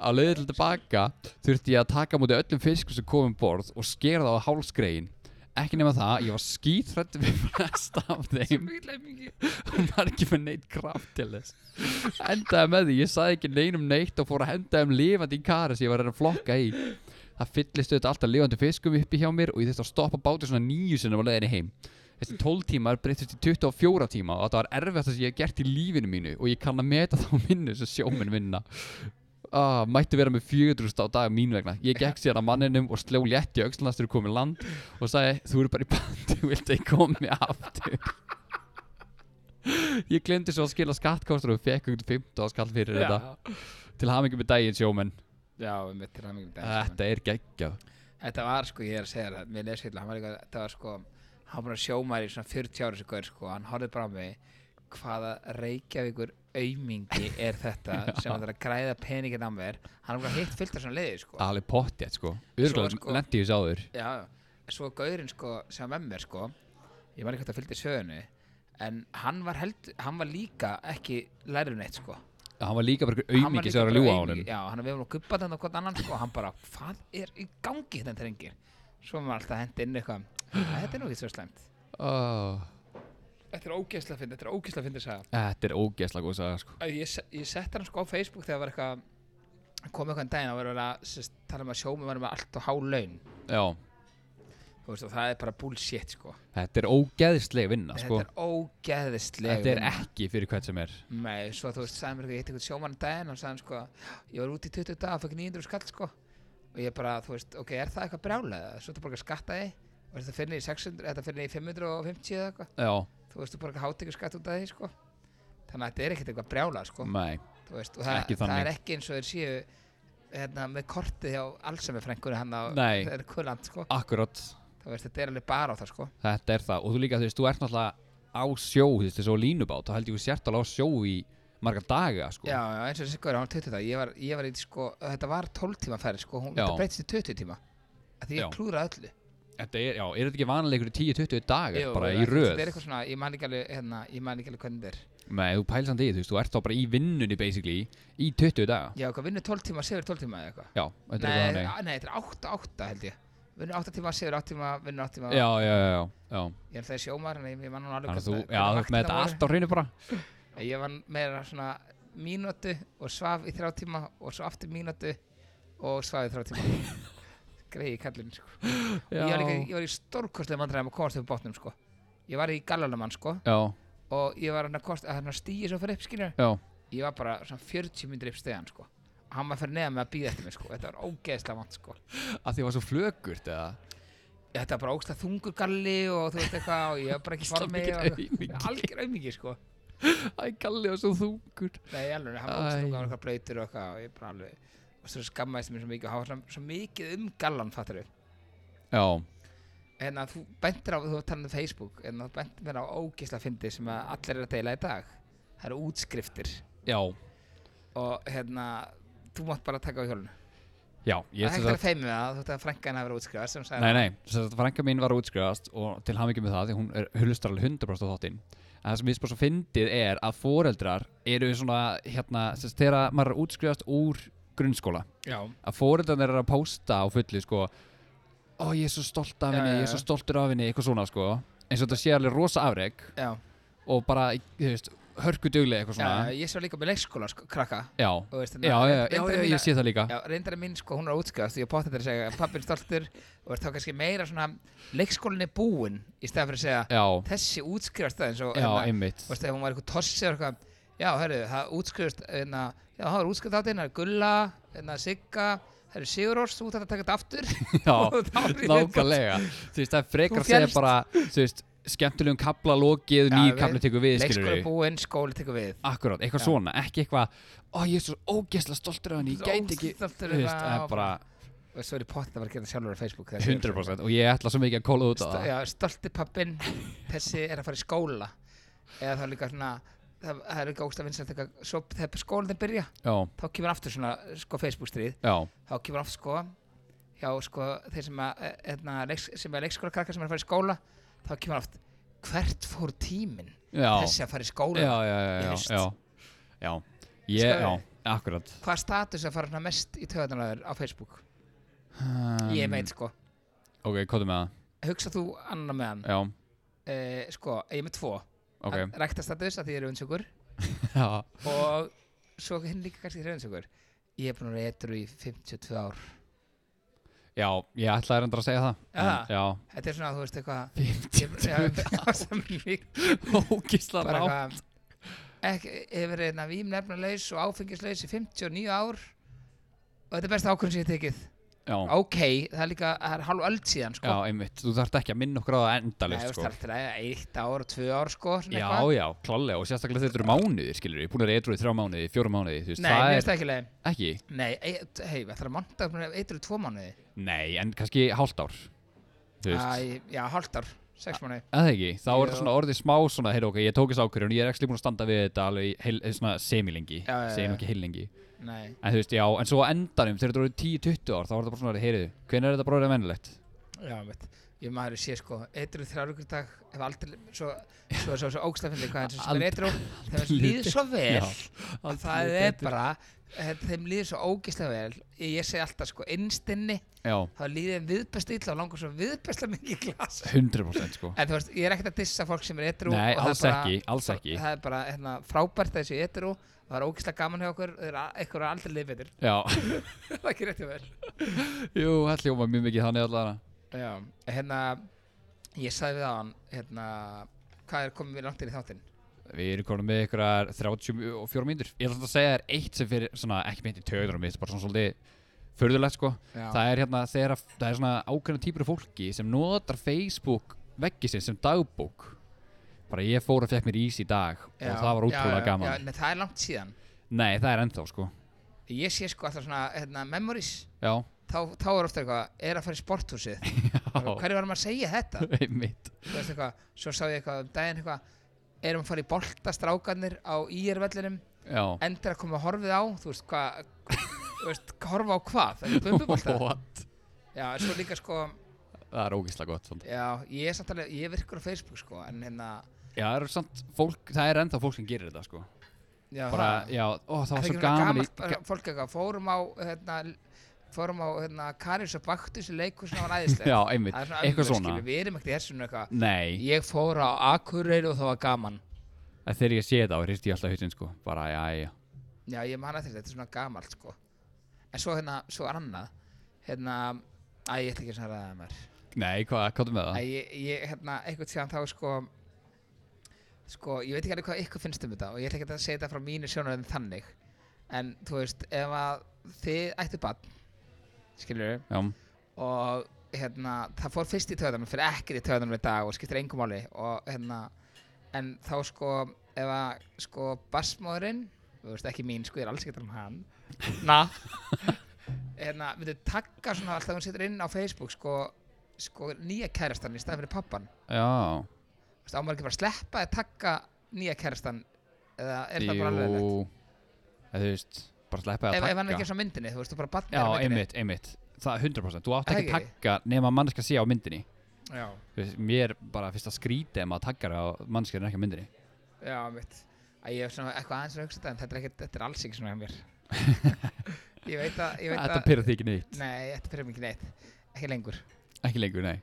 S3: á leiði til tilbaka þurfti ég að taka á móti öllum fiskum sem komum borð og skera það á hálsgrein ekki nema það, ég var skítrætt við flesta af þeim
S1: Mjög lemmingi
S3: hún var ekki með neitt kraft til þess endaði með því, ég sagði ekki neinum neitt og fór að henda þeim lifandi í kara sem ég var að reyna að flokka í það fyllist auðvitað alltaf lifandi fiskum uppi hjá mér og ég þurfti að stoppa bátið svona nýju sinna á leiðinni heim þessi 12 tímar breyttist í 24 tíma og þetta var erfiðast sem ég hef gert í lífinu mínu og ég kann að meta þá minnu sem sjóminn vinna ah, mætti vera með 400 á dag mín vegna ég gekk síðan að manninum og sló létt í aukslanastur og komið land og sagði þú eru bara í bandi, viltu ekki koma mig aftur ég glemdi svo að skila skattkostur og fekk um 15 skall fyrir þetta til hamingi með daginn sjómenn
S1: Já, við mitt til hamingi
S3: þetta er geggjað
S1: Þetta var sko, ég er að segja það, mér leys hérna, hann var eitthvað, þetta var sko, hann var bara sjómaður í svona 40 ára sem gaur sko, hann horfði bara á mig, hvaða Reykjavíkur aumingi er þetta sem hann þarf að græða peningin á mér, hann er bara hitt fullt af svona leiði sko.
S3: alveg pottjætt sko örgulega
S1: Svo, sko-
S3: sko. lendi ég sáður
S1: Já, en svo gaurinn sko, sem var með mér sko, ég var eitthvað að fylgdi sögunu, en hann var, held, hann var líka ekki lærið neitt sko.
S3: hann var líka bara einhver
S1: Hann var
S3: aumingi
S1: líka
S3: sem var að
S1: bara
S3: ljúa á
S1: aumingi.
S3: honum
S1: Já, hann við varum að gubba þetta og hvort annan sko, hann bara, hvað er í gangi þetta drengir? svo var maður alltaf hend inn eitthvað "Æ, þetta er nú ekki svo slæmt
S3: oh.
S1: þetta er ógeðslega fyndið, þetta er ógeðslega fyndið saga
S3: Ah, Þetta er ógeðslega góð saga sko
S1: Æ, ég, se- ég setti hann sko á Facebook þegar var eitthvað kom eitthvað en daginn að vera að sérst, tala um að sjómi var með allt og há laun
S3: Já,
S1: þú veist og það er bara bullshit sko,
S3: þetta er ógeðslega vinna sko
S1: þetta er ógeðslega
S3: Þetta er ekki fyrir hvern sem er
S1: Nei, svo þú veist, sagði mér eitthvað, ég hitt eitthvað sjómann um daginn og sagði hann sko, ég var út í 20 dag og fekk 900 skall sko og ég bara, þú veist, ok, er það eitthvað brjálega svo þetta bara skattaði og þetta fyrir niður í 600, þetta fyrir niður í 550 eða eitthvað
S3: Já,
S1: þú veist, þú bara hátt eitthvað skatt út af því sko þannig að þetta er ekkert eitthvað brjálega sko
S3: nei
S1: þú veist, og það,
S3: Mm. Ekki
S1: það er
S3: þannig.
S1: ekki eins og þeir séu hérna, með kortið hjá allsami frengur hann á
S3: Nei.
S1: það er kulant sko
S3: Akkurat,
S1: þú veist, þetta er alveg bara á það sko
S3: þetta er það Og þú líka, þú veist, þú ert náttúrulega á sjó Þú veist, þessu á línubát Þá held ég við sért alveg á sjó í marga daga sko
S1: Já, já, eins og þessi góður, hann var 20 dag ég var, ég var í, sko, þetta var 12 tíma ferð sko, hún
S3: Já.
S1: þetta breytist í 20 tíma að því
S3: Já.
S1: ég klúraði öllu
S3: Þetta er, já, er þetta ekki vanaleikur í 10-20 dagar
S1: Jú,
S3: bara
S1: þú
S3: í
S1: veist,
S3: röð
S1: þetta er eitthvað svona, ég man ekki alveg, hérna, ég man ekki alveg hvernig þetta er
S3: Nei, þú pælir samt í, þú veist, þú ert þá bara í vinnunni basically í 20 daga
S1: já, hvað, vinnur 12 tíma, sefur 12 tíma eða eitthvað
S3: Já, þetta er
S1: nei,
S3: eitthvað
S1: á- nei, þetta er 8-8 held ég vinnur 8 tíma, sefur 8 tíma, vinnur 8 tíma
S3: þannig Já, já, já, já, já
S1: ég held það er sjómar, en ég ég man hún alveg
S3: Þannig að þú,
S1: hvernig-
S3: já, þú
S1: hvernig
S3: ert með
S1: vaktirnar
S3: þetta
S1: voru.
S3: allt á hreinu bara
S1: Ég var meira svona mínútu og svaf í þrjá tíma og svo aftur mínútu og svaf í þrjá tíma. Greiði kallinn, sko. Já. Ég var, líka, ég var í stórkostlega vandræðum að komast upp bátnum, sko. Ég var í Gallalamann, sko,
S3: Já,
S1: og ég var hann að kosta, hann að stíja svo fyrir upp, skilur.
S3: já,
S1: Ég var bara svona 40 myndir upp stegan, sko. Og hann var fyrir neða með að býða eftir mig, sko. Þetta var ógeðslega vant, sko.
S3: að því var svo flögurt eða
S1: Þetta var bara ógeðslega þungur galli og þú veist eitthvað og ég var bara ekki
S3: Ógeðslega
S1: formið.
S3: mikill
S1: og-
S3: aumingi.
S1: Algjör aumingi, sko.
S3: Æ, galli var svo þungur
S1: Nei, alveg, hann var
S3: Æ.
S1: ógstlega eitthvað blöytur og eitthvað og ég bara alveg og svo skammaðist mér svo mikið og hann var svona- svo mikið um gallan, fattar við
S3: Já,
S1: en að þú bentir á, þú var talað um Facebook en þú bentir mér á ógisla fyndi sem að allir er að deila í dag það eru útskriftir
S3: já,
S1: og hérna, þú mátt bara taka á hjólun
S3: já
S1: það
S3: Ég
S1: er
S3: sem
S1: hægt að
S3: sagt,
S1: feimi það, þú ætti að frænka henni að vera útskrifað sem sagði
S3: nei, nei, sem sagt, frænka mín var að útskrifast og til hann ekki með það, því hún er hulustar alveg 100% á þáttinn En það sem ég spara svo fyndið er að foreldrar eru svona, hérna, sem sagt, þegar maður er að útskrifast úr grunnskóla
S1: já,
S3: að fóreldarnir eru að pósta á fullu sko ó ég er svo stolt af
S1: Já,
S3: henni,
S1: já,
S3: ég er svo
S1: já.
S3: stoltur af henni eitthvað svona sko, eins og þetta sé alveg rosa afreg
S1: já,
S3: og bara, þú veist, hörku dugli eitthvað
S1: já,
S3: svona,
S1: ég svo líka með leikskóla sko, krakka
S3: já
S1: og veist, hérna,
S3: já, já, já, já, já, ég sé það líka
S1: Já, reyndar er minn sko, hún er útskjáðast og ég potta þetta að segja pappin stoltur og er þá kannski meira svona leikskólinn er búinn í stæðan fyrir að segja
S3: já,
S1: þessi útskjáðast aðeins og
S3: já,
S1: hérna,
S3: einmitt
S1: veist, ef hún var eitthvað tossi og eitthvað já, hörru, það útskjáðast hérna, já, það var útskjáðast átt hérna, Gulla hérna, Sigga, herru Sigurós þú ert að taka þetta aftur
S3: já,
S1: Og þá er ég- hérna.
S3: nákvæmlega þú veist, það er frekar
S1: Þú
S3: að segja
S1: féllst.
S3: bara þú veist, skemmtilegum kapla lokið
S1: Já,
S3: nýjum
S1: við-
S3: kapla tekur við, skilur
S1: leikskóli
S3: við
S1: búinn, skóli tekur við
S3: akkurát, eitthvað
S1: Já.
S3: svona, ekki eitthvað ó ég er svo ógeðslega stoltur af henni, ég gæti ekki
S1: Ógeðslega stoltur
S3: þú
S1: af
S3: veist,
S1: henni,
S3: það
S1: já,
S3: er bara
S1: og svo er ég potta að vera að gera sjálfur á Facebook þegar ég er svo-
S3: 100% og ég ætla svo mikið að kóla út á
S1: Sto-
S3: það
S1: já, stolti pappin þessi er að fara í skóla eða það er líka svona það, það er líka ógst að vinsast eitthvað svo þegar skólinni byrja
S3: já,
S1: þá kemur aftur svona sko Facebook stríð
S3: já,
S1: þá kemur aftur sko hjá sko þeir sem að eh, hérna, leiks, sem er leikskóla krakkar sem er að fara í skóla þá kemur aftur hvert fór tíminn
S3: já
S1: þessi að fara í skóla
S3: já, já, já,
S1: Í
S3: já,
S1: haust.
S3: já, já, ég,
S1: Skilurðu?
S3: já, akkurat
S1: hvað status að fara svona mest í töðanlegar á Facebook
S3: um,
S1: ég veit sko
S3: ok, kóðu með
S1: hugsa þú annar með hann
S3: það, já,
S1: eh, sko ég er með tvo
S3: ok
S1: ræktastatus að því ég er unnsökur
S3: já,
S1: og svo hinn líka kannski hreinsugur ég er búin að vera eitthvað í 52 ár
S3: já, ég ætlaði reyndar að segja það
S1: Ja.
S3: en, já,
S1: þetta er svona þú veist eitthvað ég er- já, já, sem lík-
S3: ógísla
S1: bara
S3: rá
S1: eitthvað ekki, hefur verið hérna vímnefnalaus og áfengislaus í 59 ár og þetta er besta ákvörðum sem ég hef tekið
S3: já,
S1: ok, það er líka, það er hálf öld síðan
S3: já,
S1: sko.
S3: einmitt, þú þarft ekki að minna okkur á það endalist,
S1: það
S3: sko
S1: er það eitt ár, tvö ár sko, svona
S3: Já,
S1: eitthvað.
S3: já, klálega, og sérstaklega þetta eru mánuðir, skilur við, búin að reyndru í þrjá mánuði, fjóra mánuði, þú veist,
S1: nei,
S3: það
S1: mér
S3: er
S1: finnst það ekki leið
S3: ekki,
S1: nei, hei, það er að monta eitthvað í tvo mánuði
S3: nei, en kannski hálft ár, þú veist,
S1: Æ, já, hálft ár, sex mánuði
S3: eða ekki, þá er
S1: Jú.
S3: svona orðið smá svona, heyrðu, ok, ég tók þess ákvörðun, ég er ekki búin að standa við þetta alveg í heil, eh, svona semilengi,
S1: Já, já, já.
S3: segjum ekki heilengi,
S1: nei,
S3: En þú veist, já, en svo á endanum, þegar þetta voru 10-20 ár, þá var þetta bara svona að heyrðu, hvernig er þetta bara orðið venjulegt?
S1: já, veit ég maður sé sko, eitru þrjár ykkur dag hef aldrei, svo, svo, svo, svo ógstafindi hvað er sem sem er
S3: Aldrei-
S1: eitru þeim
S3: aldrei
S1: líður svo vel
S3: Já,
S1: að það
S3: aldrei
S1: er
S3: betur.
S1: bara, eh, þeim líður svo ógislega vel, ég, ég segi alltaf sko innstinni,
S3: já,
S1: þá líður þeim viðbest illa og langar svo viðbestla mikið í glas
S3: 100% sko
S1: en þú veist, ég er ekkert að dissa fólk sem er eitru
S3: Nei, alls ekki, alls ekki.
S1: það er bara hérna, frábært þessu eitru það var ógislega gaman hjá okkur, þeir eru eitthvað aldrei liðbetur
S3: Já,
S1: það er ekki rétt hjá vel
S3: jú, það hljóma mjög mikið þannig allavega
S1: Já, hérna ég sagði við á hann hérna, hvað er komið við langt inn í þáttinn
S3: Við erum komin með einhverjar 34 mínútur Ég ætla samt að segja þér eitt sem fyrir svona, ekki meint í töður og mitt, bara svona svolítið förðulegt sko
S1: Já.
S3: Það er hérna þegar að, það er svona ákveðna típur af fólki sem notar Facebook veggi sinn sem dagbók Bara ég fór og fekk mér ís í dag
S1: Já,
S3: og það var útrúlega
S1: já, já,
S3: gaman
S1: já, nei, það er langt síðan
S3: Nei, það er ennþá sko
S1: ég sé sko alltaf svona hérna, memories
S3: Já,
S1: þá, þá er ofta eitthvað, er að fara í sporthúsið
S3: já,
S1: hverju varum að segja þetta
S3: einmitt
S1: Þú veist eitthvað, svo sá ég eitthvað um daginn eitthvað, erum að fara í boltastrákanir á íjærvellinum
S3: Já
S1: endur að koma horfið á þú veist hvað þú veist, horfa á hvað, það er bumbubolta
S3: What?
S1: já, en svo líka sko
S3: Það er ógíslega gott samt.
S1: já, ég er samtalið, ég er virkur á Facebook sko, en hérna
S3: Já, það er samt fólk, það er ennþá fólk sem gerir þetta sko
S1: já,
S3: Bara,
S1: það-
S3: já, ó, það
S1: Það
S3: var
S1: er
S3: svo
S1: ekki
S3: gaman í
S1: gamalt bara fólk eitthvað, fórum á hérna, fórum á hérna, Karis og Baktus í leikhús og það var æðislega
S3: Já, einmitt, eitthvað svona
S1: Við erum ekkert í þessum eitthvað
S3: Nei,
S1: Ég fór á Akureyri og það var gaman
S3: að þegar ég sé þetta þá hrist ég alltaf hausin sko bara já já
S1: Já, ég man að þetta, þetta er svona gamalt sko En svo hérna, svo er annað Hérna, æ, ég ætla ekki að ræða það mér
S3: nei hvað, hvað með
S1: Æ,
S3: það?
S1: ég, ég, hérna, eitthvað síðan þá sko Sko, ég veit ekki alveg hvað ykkur finnst um þetta og ég ætla ekki að segja þetta frá mínu sjónaröðin þannig En, þú veist, ef að þið ættu bann Skilur
S3: já,
S1: og hérna, það fór fyrst í töðanum fyrir ekkert í töðanum í dag og skiptir engum máli og hérna, en þá sko ef að sko basmóðurinn, þú veist ekki mín sko, ég er alls ekki að tala um hann na, hérna, myndi takka svona alltaf hún setur inn á Facebook sko, sko nýja kærastan í staðan fyrir pappan,
S3: já
S1: þú veist, ámar ekki bara að sleppa eða takka nýja kærastan eða er það bara alveg
S3: Jú.
S1: leitt
S3: Eða, þú veist bara sleppa
S1: ef,
S3: að
S1: ef hann er
S3: taka
S1: ekki á myndinni, þú veist, þú bara barnir
S3: já
S1: á myndinni
S3: einmitt, einmitt það er 100% þú átt ekki að
S1: Ekki?
S3: taka nema að mannska sé á myndinni
S1: já,
S3: Þú veist, mér bara fyrst að skríti ef maður takkar á mannska er ekki á myndinni
S1: já, mitt að ég er svona eitthvað aðeins að hugsa þetta en þetta er, ekkert, þetta er alls ekki svona hjá mér ég veit að, ég veit
S3: þetta
S1: að
S3: pyrrði ekki neitt
S1: nei, þetta fyrir mikið neitt ekki lengur
S3: ekki lengur nei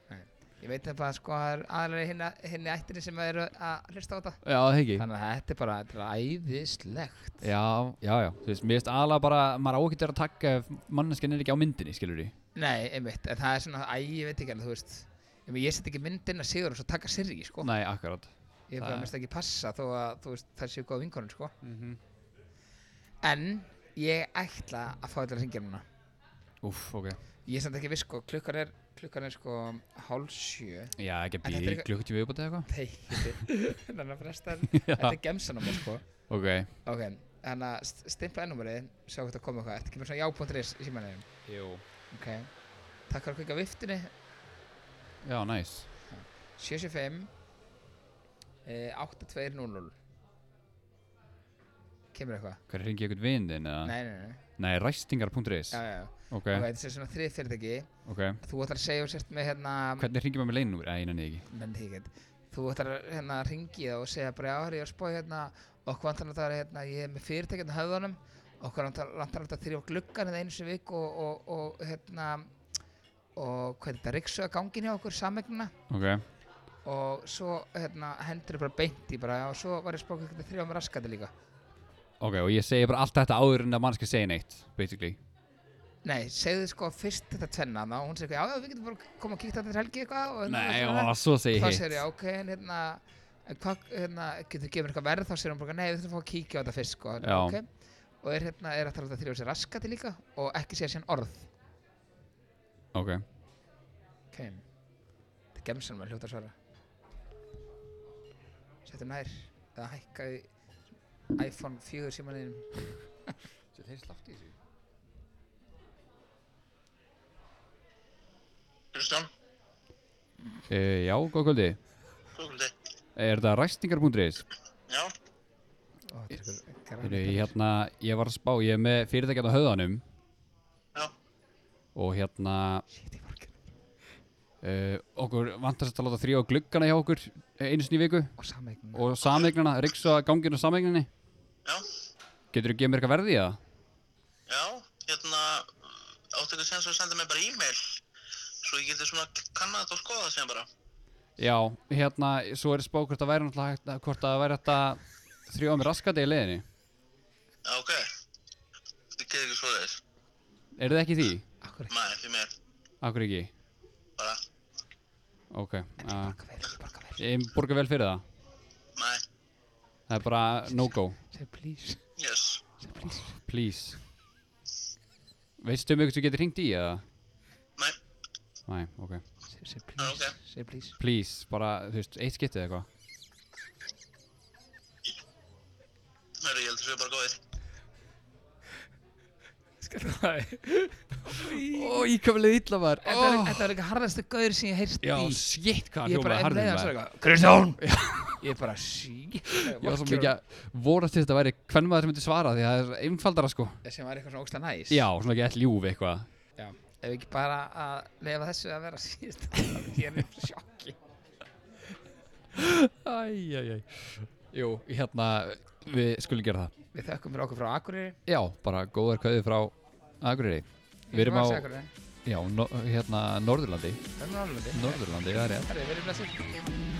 S1: ég veit að bara sko það er aðlega hinni, hinni ættinni sem eru að hlusta á þetta
S3: já það ekki
S1: þannig að þetta er bara þetta er æðislegt
S3: já já já þú veist mér veist aðalega bara maður á ekki að vera að taka ef mannskjan er ekki á myndinni skilur
S1: nei, einmitt en það er svona æ, ég veit ekki en þú veist ég, meina, ég set ekki myndin að sigur og svo taka sirri sko
S3: nei akkurat
S1: ég bara
S3: það-
S1: mest ekki passa þó að þú veist það séu góð vinkonur sko
S3: Mhm.
S1: en ég ætla að fá þetta að ringja núna
S3: Úff, ok.
S1: Ég er samt ekki viss sko, klukkan er, klukkan er sko hálf sjö
S3: Já,
S1: En
S3: ekki að
S1: þetta er
S3: býða í
S1: eitthvað-
S3: klukkutími viðbútið eitthvað?
S1: Nei, þannig að fresta Þetta er gemsanum sko
S3: Ok.
S1: Ok, þannig að stimpla ennúmerið Sjá hvort það koma eitthvað, ertu ekki með svona já.is í símanum
S3: Jú.
S1: Ok, takk fyrir að kvika á viftunni
S3: Já, næs.
S1: 75 eh, 8200 Kemur eitthvað?
S3: Hvað, ringi ég einhvern vin þinn eða?
S1: Nei, nei, nei,
S3: Nei, ræstingar.is
S1: já, já, já
S3: Ah. Ok,
S1: Ok, þetta er svona þrið fyrirtæki
S3: ok
S1: Þú ætlar að segja og sért með hérna
S3: Hvernig ringir maður með leinnúmer? Æ, neina ekki
S1: menn þið ekkert þú ætlar að hérna ringi það og segja bara já, herri, ég er að spá hérna okkur vantar að það er hérna, ég er með fyrirtækjum á höfðunum okkur vantar vantar að þrjá gluggan hérna einu sem vik og, og, og hérna og hvað er þetta, riksuða gangin hjá okkur samegnina
S3: Ok,
S1: og svo hérna hendur bara beint í bara já, og svo var ég að spá hvernig þrjá með raskandi líka
S3: ok, og ég segi bara allt þetta áður en að mannski segja neitt Basically
S1: nei, segðu sko fyrst þetta tvenna þá, hún segir já, já, við getum bara að koma og kíkta þetta helgi eitthvað og, hérna,
S3: Nei,
S1: og,
S3: og svo segi
S1: þá
S3: ég hitt
S1: segir ég, ok, en hérna, en hvað, hérna, getur þú gefið mér eitthvað verð, þá segir hún bara, nei, við þurfum að fá að kíkja á þetta fyrst, sko,
S3: Já.
S1: ok, og er hérna, er að tala um þetta þrjóð sér raskati líka og ekki segja síðan orð,
S3: Ok,
S1: ok, þetta er gemsan með hljóta að svara. Settu nær, eða hækka í iPhone 4 símaninum,
S3: Svo þeir slátt í þessu
S2: Kristján,
S3: Eh, Já, góð kvöldi
S2: góð kvöldi.
S3: Er þetta ræstingar.is?
S2: Já,
S1: ó, þetta er eitthvað- eitthvað
S3: Heyrðu,
S1: rafbjörn.
S3: ég Hérna, ég var að spá, ég er með fyrirtækjað á höðanum
S2: já,
S3: Og hérna,
S1: Shit, ég var ekki-
S3: Uh, okkur vantast að láta þrjá gluggana hjá okkur eh, einu sinni í viku
S1: og sameign
S3: og sameignana, riksa gangin og sameignani
S4: Já,
S3: Getur þú gefið mér eitthvað verði í það?
S4: já, hérna, áttu ekki sem svo að senda mér bara e-mail svo ég geti svona kannat og skoða það sem bara.
S3: Já, hérna, svo er spá hvort það væri náttúrulega hægt að- hvort það væri hægt að þrjá mér raskati í leiðinni
S4: Já, ok. Þið getur ekki svo þess.
S3: Er þið ekki í því?
S1: Akkur ekki,
S4: Nei, því mér,
S3: Akkur ekki?
S4: bara,
S3: Ok, uh,
S1: borga vel, borga vel
S3: ég borga vel fyrir það
S4: nei,
S3: Það er bara no-go,
S1: Segð please,
S4: yes.
S1: segð please
S3: please Veistu um ykkur sem getur hringt í eða?
S4: Nei,
S3: Nei, ok
S1: Segð segð
S4: Ah,
S1: please,
S4: ok.
S1: segð please
S3: Please, bara, þú veist, eitt skiptið eitthvað
S4: það ég heldur svo bara góðið.
S1: Skellu það
S3: Ó, ég kom leið illa var
S1: Þetta var- þetta var líka harðastu gaur sem ég heyrst
S3: Já,
S1: í
S3: shit, hvað hann
S1: Ég er bara einn
S3: hljómaði harður
S1: leiðan
S3: maður.
S1: svo eitthvað Kristján Ég er bara sí
S3: Ég var svo mikið að vorast til þetta væri hvern maður sem myndi svara því að það er einfaldara sko
S1: Sem var eitthvað svona ógsta næs
S3: Já, svona ekki all ljúf eitthvað
S1: Já. Ef ekki bara að leifa þessu að vera síðast Ég er nefnir sjokki
S3: Æjæjæj Jú, hérna, við skulum gera það
S1: Við þökkum fyrir okkur frá Akureyri
S3: Já, bara góðar kauði frá Akureyri Við erum á,
S1: Akureyri
S3: já, no, hérna, Norðurlandi
S1: Það er nú alveg
S3: Norðurlandi, það er rétt
S1: Það er verið blessið
S3: Takk